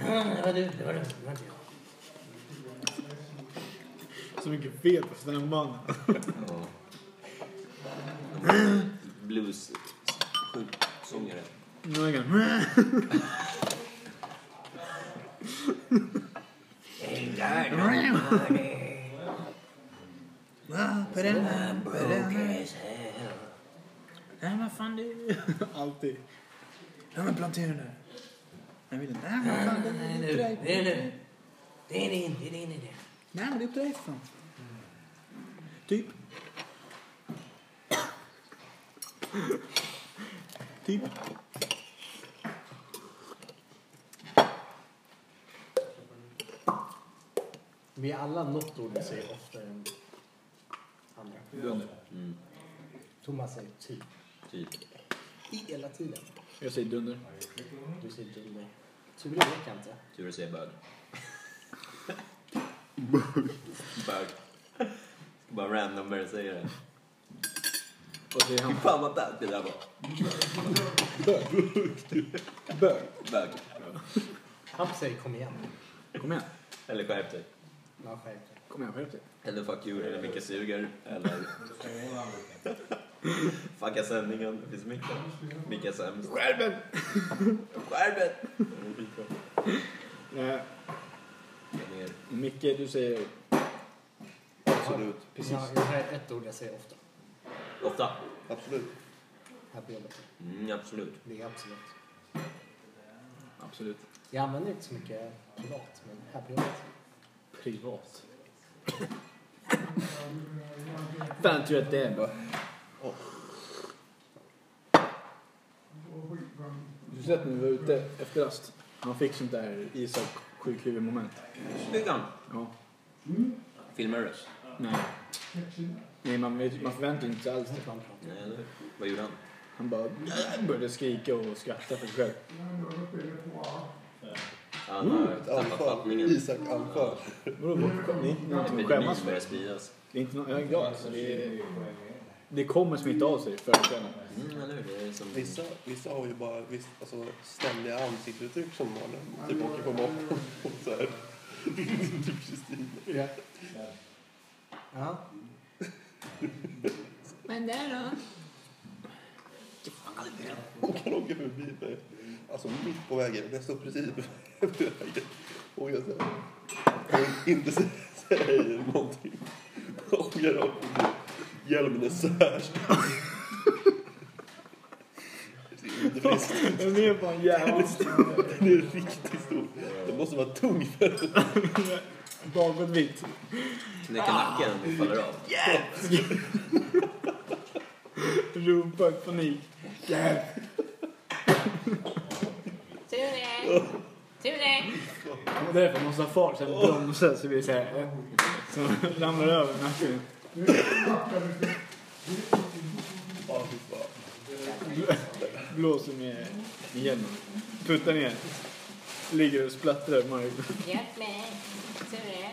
Mm. Det var du, det var du, det var inte jag. Så mycket fel på stämman. Ja. Blues sångare. Nu är jag Nej, vad fan du... Alltid. Nej, men plantera den där. Jag vill inte. Nej, men fan, den är inte dig. Det är nu. Det är din, det är din idé. Nej, men det är inte dig fan. Typ. Typ. Vi är alla något ord vi säger oftare än andra. Mm. Thomas säger typ. Typ. I hela tiden. Jag säger dunder. Du säger dunder. Tur det vet jag inte. Tur att säga bög. Bög. Ska bara random börja säga det. Vad säger han? Fan vad bad det där var. Bög. Bög. Han säger kom igen. Kom igen. Eller skärp dig. Man skärper sig. Kom igen, skärp dig. Eller fuck you, eller mycket suger. Eller... Fucka sändningen, det finns mycket. Mycket är sämst. Skärp Skärpet! dig! Micke, du säger... Absolut. Precis. Jag, jag säger ett ord jag säger ofta. Ofta. Absolut. Här på jobbet. Mm, absolut. Det är absolut. Absolut. Jag använder inte så mycket privat, men här på jobbet. Privat. Fan tror jag att det är. Bara. Du sett när vi var ute efter rast. Han fick sånt där Isak sjukhuvudmoment. Snygg han. Ja. Filmar du det? Nej. Nej, man, vet- man förväntar sig inte sig alls det. Nej, eller hur? Vad gjorde han? Han bara började skrika och skratta för sig själv. Han har Mm, tappat Anfall. fattningen. Isak anfall. Vadå, vad- det är inte någonting att Epidemin skämmas för. börjar spridas. Det är inte något, jag är glad. Alltså, det, är- det kommer smitta av sig förr eller senare. Mm, eller hur? Det är som... Vissa, vissa har ju bara visst, alltså, ständiga ansiktsuttryck som barn. Typ åker på moppen och så här. typ Kristin. Ja. Ja. Men där då? Hon kan åka förbi mig. Alltså mitt på vägen. Jag står precis bredvid vägen. Och jag så här. Och inte sä- säger hej eller någonting. Bara åker rakt förbi. Hjälmen är så här. Det är inte friskt. Den är fan jävligt stor. Den är riktigt stor. Den måste vara tung för att Bakåt vitt. Knäcker Ah! nacken och faller av. Rumpa i panik. Jävlar. Ture! Ture! Därför måste ha fart så att bromsa så blir det så här. eh, Så ramlar över nacken. Ja, fy fan. Blåser med igenom. Puttar ner. Ligger och splattrar på marken. Hjälp mig! Ture!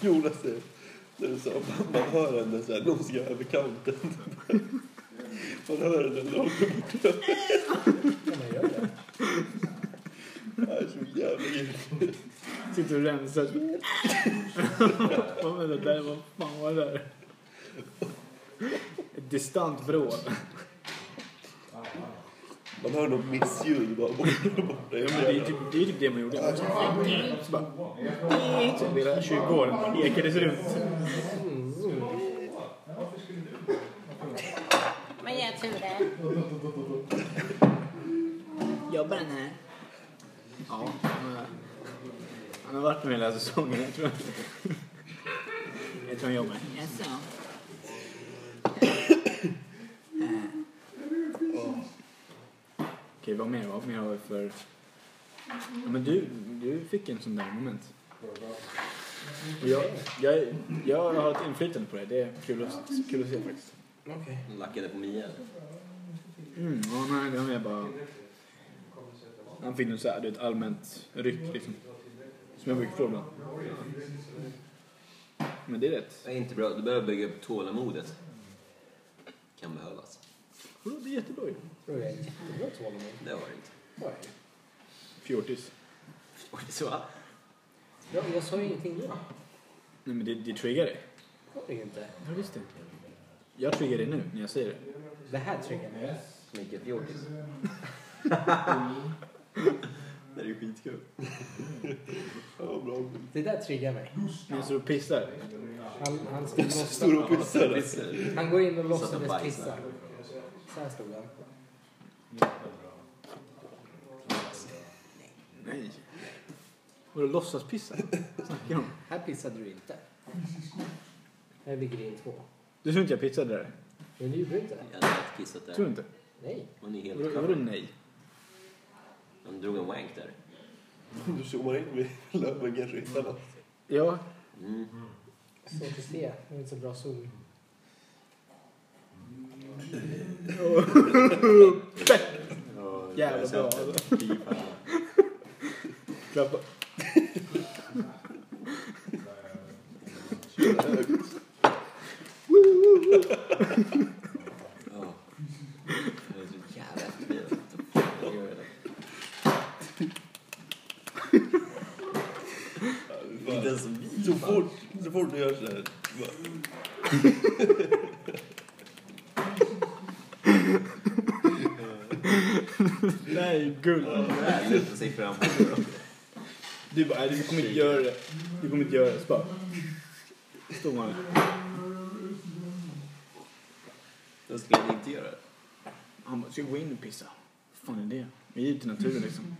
Jonas säger, när du sa man hör henne så här, någon ska över kanten. Man hör henne långt borta. Kan man göra det? Det är så jävla irriterande. Sitter och rensar. Vad var det där? Vad fan var det där? Ett distant vrål. Man hör något missljud bara borta, borta. Ja, men det, är typ, det är typ det man gjorde. Så bara... Så typ hela kyrkogården bara ekades runt. Men jag Ture! Jobbar den här? Ja, han, har- han har varit med hela säsongen. Jag tror, jag tror han jobbar. Jaså? Okej, vad mer, vad mer har vi för... Ja, men du, du fick en sån där moment. Och Jag, jag, jag har ett inflytande på det. Det är kul att, kul att se faktiskt. Okej. Han Lackade på Mia. Mm, ja, nej, det var jag bara... Han fick nog så här, du vet, allmänt ryck liksom. Som jag brukar få ibland. Men det är rätt. Det är inte bra. Du behöver bygga upp tålamodet. Kan behövas. Vadå, det är jättebra ju. Tror jag är jättebra tålamod. Det har det inte. Vad är det? Fjortis. Var det så? Jag, jag sa ju ingenting då. Nej men det, det triggar dig. Var det inte? Ja visst det. Jag triggar dig nu när jag säger det. Det här triggar mig. Mycket fjortis. Det är ju skitkul. Ja, bra. Det där triggar mig. När jag står och pissar. Han, han, ska låtsas, Står och pissar där. han går in och Satt och låtsades bajsade. pissa. Så här stod han. Nej. Vadå låtsaspissar? Snackar du om? Här pissade du inte. Här ligger det in två. Du tror inte jag pissade där? Men du gjorde inte det. Jag hade lätt kissat Tror du där. inte? Nej. Man är helt Vadå covered. nej? Han drog en wank där. Du zoomar in vid Löwengen-ryttarna. Ja, Mm. Svårt att se. Det är inte så bra zoom. jävla bra. alltså. Klappa. Ja. Det är så jävla efterblivet. Vad fan gör jag då? Inte ens vi. Så fort, så fort du gör sådär. bara- Nej, guld. Det lutar sig fram. Du bara, nej, du kommer inte göra det. Du kommer inte göra det. Så bara. Står man där. Då skulle han inte göra det. Han bara, ska jag gå in och pissa? Vad fan är det? Vi är ute i naturen liksom.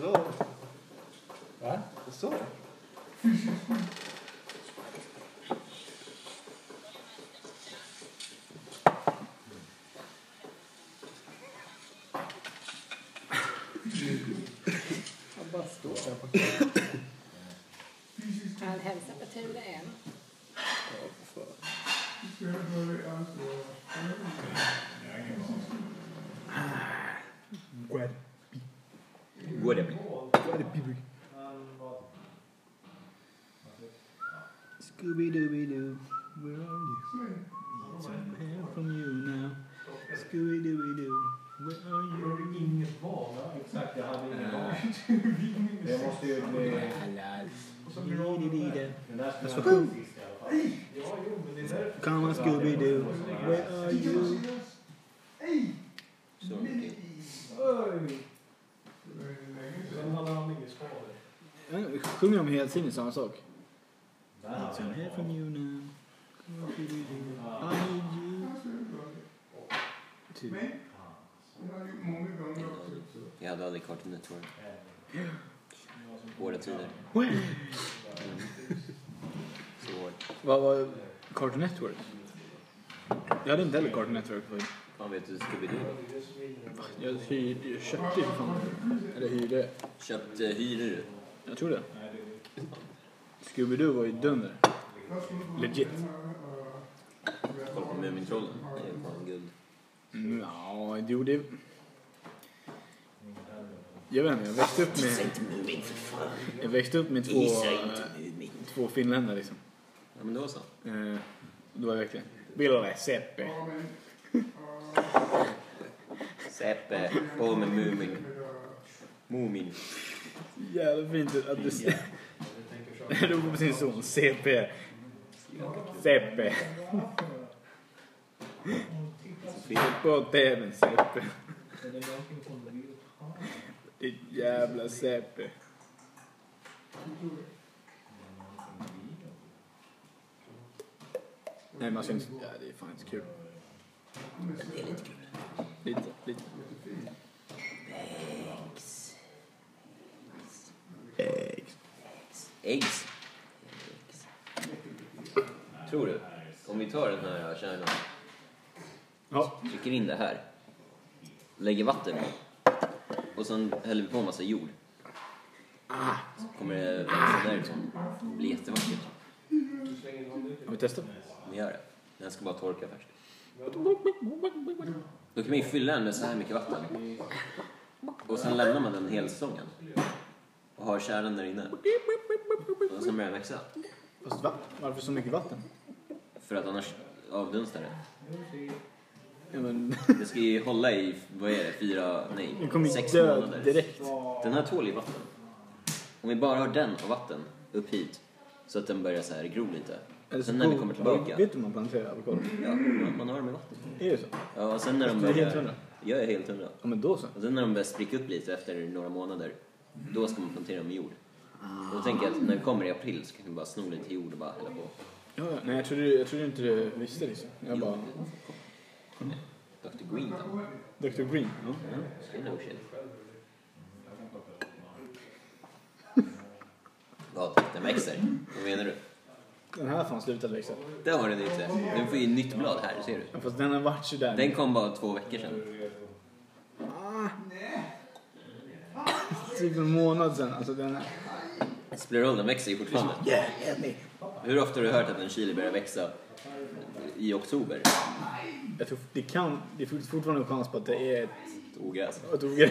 Så. Va? Så. Han bara står där på Han hälsar på Ture än. Går det? Scooby-Dooby-Doo, where are you? Somewhere from you now. Scooby-Dooby-Doo, where are you? That's what Come on Scooby-Doo, where are you? Så mycket. Jag sjunger om hela tiden samma sak. Somewhere from you now. Scooby-Doo, I need you. Typ. Jag hade aldrig Cartoon Network. Hårda tider. Så hårt. Vad var Cartoon Network? Jag hade inte heller Cartoon Network förut. Fan vet du Scooby-Doo? Jag hyrde, jag köpte ju för fan. Eller hyrde. Köpte, hyrde du? Jag tror det. Scooby-Doo var ju dunder. Legit. Kolla på Mumintrollen. Det är fan guld. Ja, det gjorde... Jag vet inte, jag växte upp med... Jag växte upp med två, två finländare liksom. Ja men det var så. Eh, Då var jag verkligen... Vill du ha Seppe? Seppe, på med Mumin. Mumin. Jävla fint att du ser... Ropar på sin son. CP. CP. Upp åt även CP. Ditt jävla CP. Nej, man syns... Ja, det är fan inte så kul. Det är lite kul. Lite, lite. Eggs. Tror du? Om vi tar den här kärnan, Ja, trycker in det här, lägger vatten i och sen häller vi på en massa jord. Så kommer det växa därifrån. Det blir jättevackert. har vi testat? Vi gör det. Den ska bara torka först. Då kan man ju fylla den med så här mycket vatten. Och sen lämnar man den helstången. Och har kärnan där inne. Och sen börjar den växa. Fast va? Varför så mycket vatten? För att annars avdunstar den. Ja, men... Det ska ju hålla i, vad är det, fyra, nej, Den kommer ju sex dö månader. direkt. Den här tål ju vatten. Om vi bara har den och vatten upp hit, så att den börjar så här gro lite. Sen när den kommer tillbaka, Vet du hur man planterar avokado? ja, man- man har dem i vatten. Är det så? Ja, och sen när de Du är helt börjar... hundra? Jag är helt hundra. Ja men då så. Och sen när de börjar spricka upp lite efter några månader, då ska man plantera dem i jord. Då tänker jag att när det kommer i april så kan vi bara sno lite jord och bara hälla på. Ja, ja. Nej jag trodde, jag trodde inte du visste liksom. Jag bara, Dr Green då. Dr Green? Ja. Mm. I know shit. Den växer. Vad menar du? Den här har fan slutat växa. Där har den inte. Den får ju nytt blad här, ser du? Ja, Fast den har varit sådär. Den kom bara två veckor sedan. Typ en månad sedan. Alltså den här. Det Spelar roll, den växer ju fortfarande. Hur ofta har du hört att en chili börjar växa i oktober? Jag tror det kan, det finns fortfarande en chans på att det är ett, Ett ogräs. ett ogräs.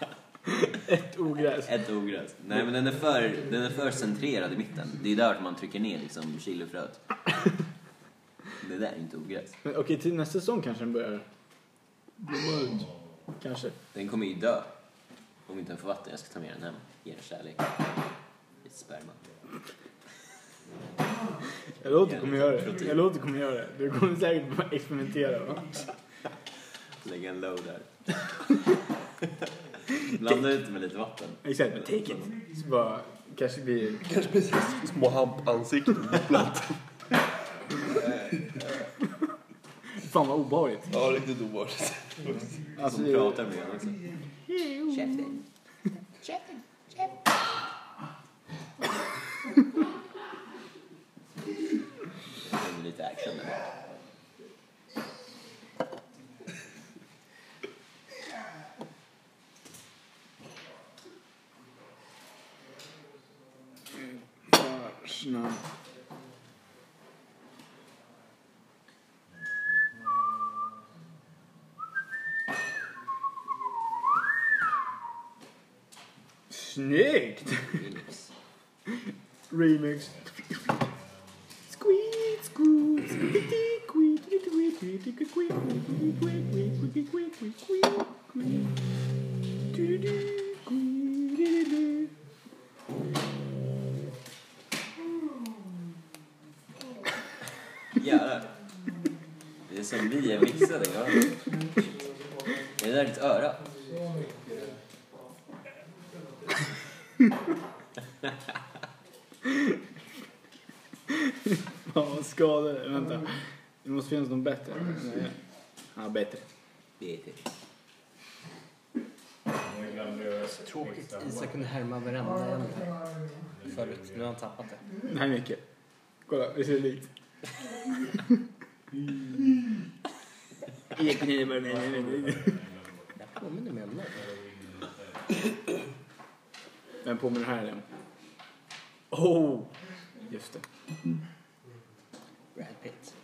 ett ogräs. Ett ogräs. Nej men den är, för, den är för centrerad i mitten. Det är där man trycker ner liksom chilifröet. Det där är inte ogräs. Men okej, till nästa säsong kanske den börjar blomma ut. Kanske. Den kommer ju dö. Om inte den får vatten. Jag ska ta med den hem. Ge den kärlek. Lite sperma. Jag lovar att du kommer göra det. Jag lovar att du kommer göra det. Du kommer säkert bara experimentera. Va? Lägga en low där. Blanda ut med lite vatten. Exakt, men take it. Så bara, kanske blir... Kanske precis små hampansikten. ibland. Fan vad obehagligt. ja, riktigt obehagligt. Alltså, Som pratar med en också. Käften. Käften. Käften. Det är lite action där. Vars namn. Snyggt! Remix. Remix. Squeak, squeak, squeaky, squeak, squeak, squeak, squeak, squeak, squeak, squeak, squeak, squeak, squeak, squeak. Du-du-du, squeak, du-du-du. Jävlar. Det är som vi är mixade. Ja. Är det där ditt öra? Fan vad skadade. Vänta. Det måste finnas någon bättre. Nej. Ja, bättre. Det är det. Tråkigt. Isak kunde härma varenda en här förut. Nu har han tappat det. Det här är mycket. Kolla, vi ser likt. Jag påminner mig om någon. Vem påminner här igen? Oh! Just det. Brad Pitt.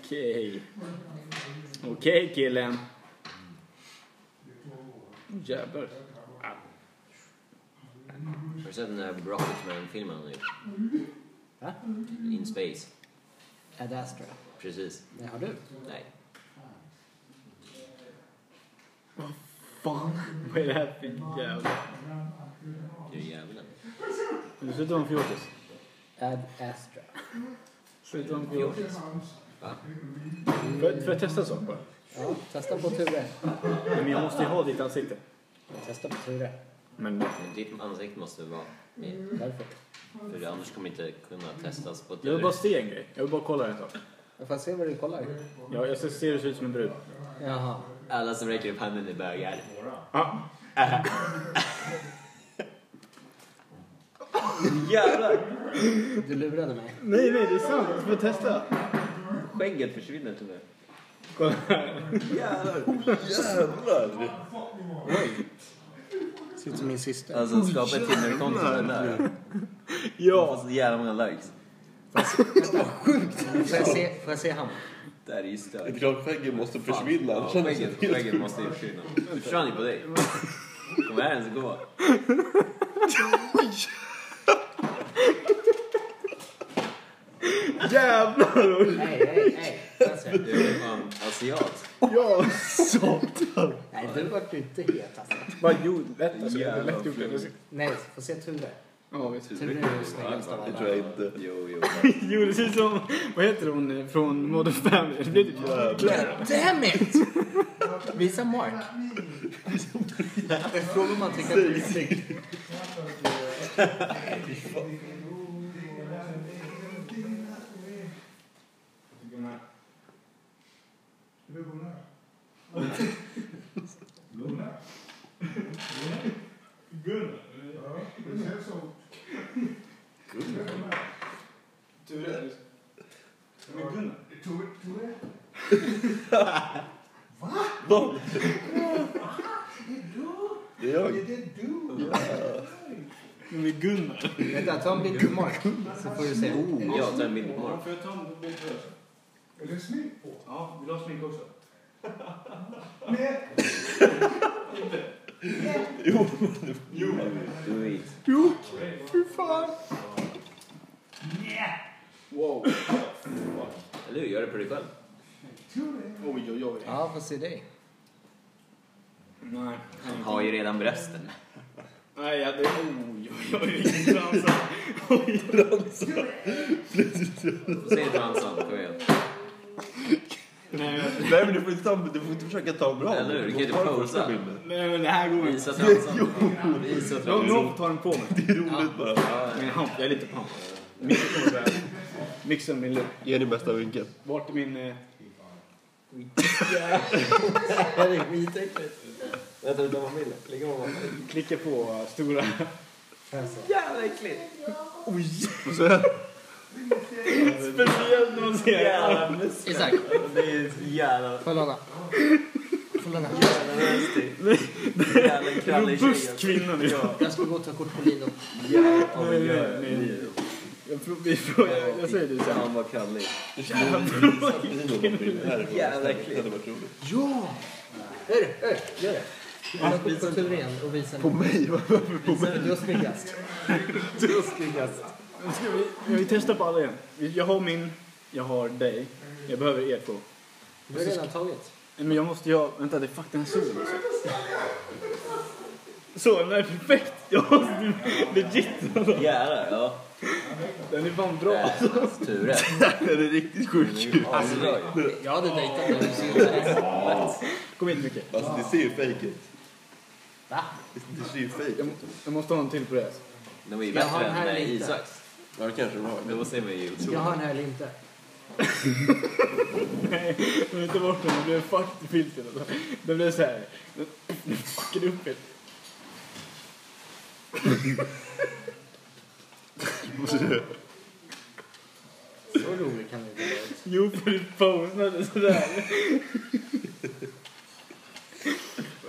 Okej. Okej killen. Åh, Jävlar. Har du sett den här Rocketman-filmen han har gjort? Va? In Space. Ad Astra. Precis. Det har du. Nej. Fan. Vad är det här för jävla... Det är djävulen. Men Sluta vara en fjortis. Ad Astra. Sluta vara en fjortis. Va? Får jag- får jag testa en sak bara? Ja, testa på Ture. Nej, Men jag måste ju ha ditt ansikte. Testa på Ture. Men Men ditt ansikte måste vara med. Varför? För annars kommer inte kunna testas på jag tur. vill bara se en grej. Jag vill bara kolla en sak. Jag får se vad du kollar. Ja, jag ser, ser du ser ut som en brud. Jaha. Alla som räcker upp handen är bögar. Ja. Jävlar! Du lurade mig. Nej, nej, det är sant. Du får testa. Skägget försvinner till nu. Kolla här. Jävlar! Ser ut som min syster. Alltså skapa ett Tinder-konto med den där. Få Ja. så jävla många likes. Får jag se, får jag se han? Det här är ju stört. Det är klart skägget måste försvinna. Ja, annars känns det skägget, helt skägget måste ju försvinna. Det försvann ju på dig. Kom här ens gå. Jävlar! Nej, oj. nej, nej. Får jag se? Du är fan asiat. Ja, satan. Nej, du vart ju inte het alltså. Vad gjorde lätt alltså. Jävlar, lätt gjort det. flummigt. Nej, får se Ture. Ja, visst. Ture är ju snyggast av Det alla. tror jag inte. Jo, jo. Jo, det ser ut som... Vad heter hon eh, från Modern Family? Det blir typ Claire. Damn it! Visa Mark. Jag frågar om han tycker att du är snygg. Gunnar? Ja, det känns så. Vad? Det är Är jag. det du? Men med Gunnar. Vänta, ta en bild på Mark. Så får du se. Jag tar en bild på Mark. Får jag ta en bild först? Är det smink på? Ja, vill du ha smink också? Nej, Jo, Du är vit. Jo, fy fan. Wow, Eller hur? Gör det på dig själv. tror det. oj oj oj. Ja, får se dig. Nej. Han har ju redan brösten. Nej, jag hade... Oj oj oj, vilken transa. Säg transan, kom igen. Nej, nej men du får inte, ta, du får inte försöka ta en bra. Eller hur? Du kan ju inte måste ta den posa. första bilden. men men det här går inte. Visa transan. Visa Någon transan. någon tar den på mig. Det är roligt bara. Min hamp, jag är lite pamp. Mycket kommer så här. Mixen min lupp. Ge din bästa vinkel. Vart är min... eh, Det är skitäckligt. Vänta, du tar en bild. Klicka på Mark. Klicka på eh, stora... Alltså. Jävla äckligt! Och så- Speciellt när man ser... Isak, Det är så jävla... får jag låna? Får jag låna? Jävla nasty. Jävla krallig tjej. Robust kvinna nu. Jag ska gå och ta kort på Lino. Nej, nej, nej. Jag, prov, vi prov, jag, jag säger det så här. Han var krallig. Det känns som att du satt i någon bild. Det här är Jävla äckligt. Det hade varit roligt. Ja! Hör du, hör du, gör det. Jag har gått på tur igen och visar På mig? Varför på mig? mig. Du har snyggast. Nu Ska vi, ja, vi testar på alla igen. Vi- Jag har min, jag har dig. Jag behöver er två. Du har redan tagit. Nej, Men jag måste ju ha... Vänta, det är fuck den här solen också. alltså. Så, den är perfekt! Jag måste legit. alltså. Jävlar, ja. Den är fan bra. Ture. Det är riktigt sjukt kul. Alltså, det är ju- Jag hade dejtat dig. så jag hade- Kom hit Micke. Alltså det ser ju fake ut. Va? Det ser ju fake Jag, ut. må- jag måste ha en till på det. här. De är Alltså, ju Ska jag ha bättre den här än eh, eller inte? Isaks. Ja det kanske de har. Då ser man ju Jag har otroligt. en här eller inte. Nej, jag vill inte bort den. Den blev fucked i filtret. Alltså. Den blev så här. Den den fuckade upp helt. Så rolig kan det inte vara. Jo, för du posade sådär.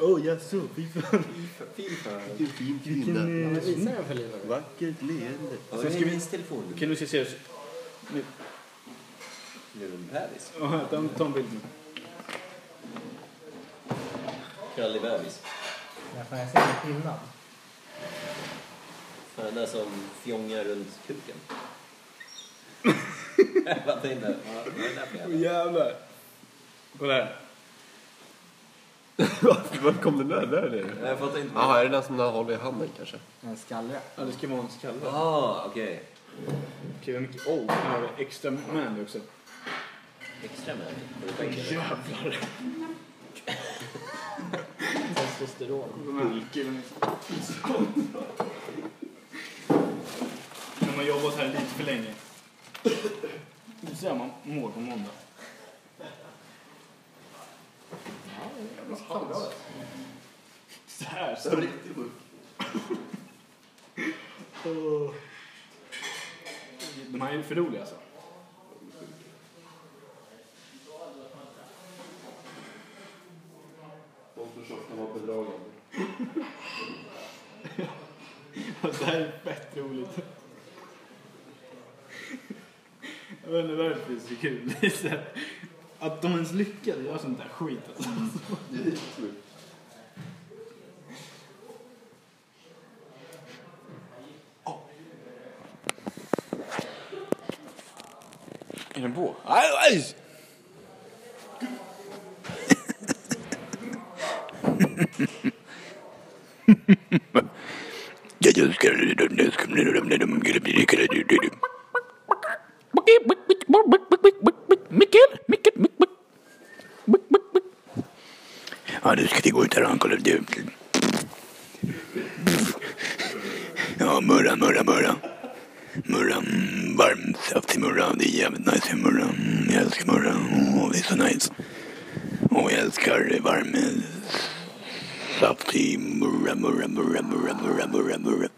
Oh, Åh, jag så fy fan. Vilken fin kvinna. Ja, men Visa den för Lino. då. Vackert leende. Har Sen ni ska vi- minst telefon? Kan du se seriös Nu är de bebis. Ja, ta- Ta en bild nu. Krallig bebis. Ja, fan, Jag ser en skillnad. Den där som fjongar runt kuken. Jag fattar inte. Vad vad är det där för jävla? Åh jävlar. Kolla här. Varför var kom den där där nere? Nej, Jag fattar inte. Jaha, är det den som den håller i handen kanske? En skallra. Ja, det ska vara en skalle. Ah, okej. Okej, vad mycket... Oh, här har vi extra mandy också. Extra med. Får du tänka dig. Jävlar. Testosteron. De här killarna är När man jobbat här lite för länge. Nu ser man mår på måndag. Så här stor. Åh. De här är för roliga alltså. De som tjocka var bedragande. Alltså, det här är fett roligt. Jag vet inte varför det är så kul. Det är så här, att de ens lyckades göra sånt där skit alltså. Det är helt sjukt. Är den på? Mikkel, Mikkel, Mikkel. Ja, nu ska vi gå ut här och kolla. Du. Ja, murra, murra, murra. Murra, mm, varm saftig murra. Det är jävligt nice med murra. Mm, Jag älskar murra. Åh, det är så nice. Och jag älskar varm eh, saftig murra, murra, murra, murra, murra, murra, murra.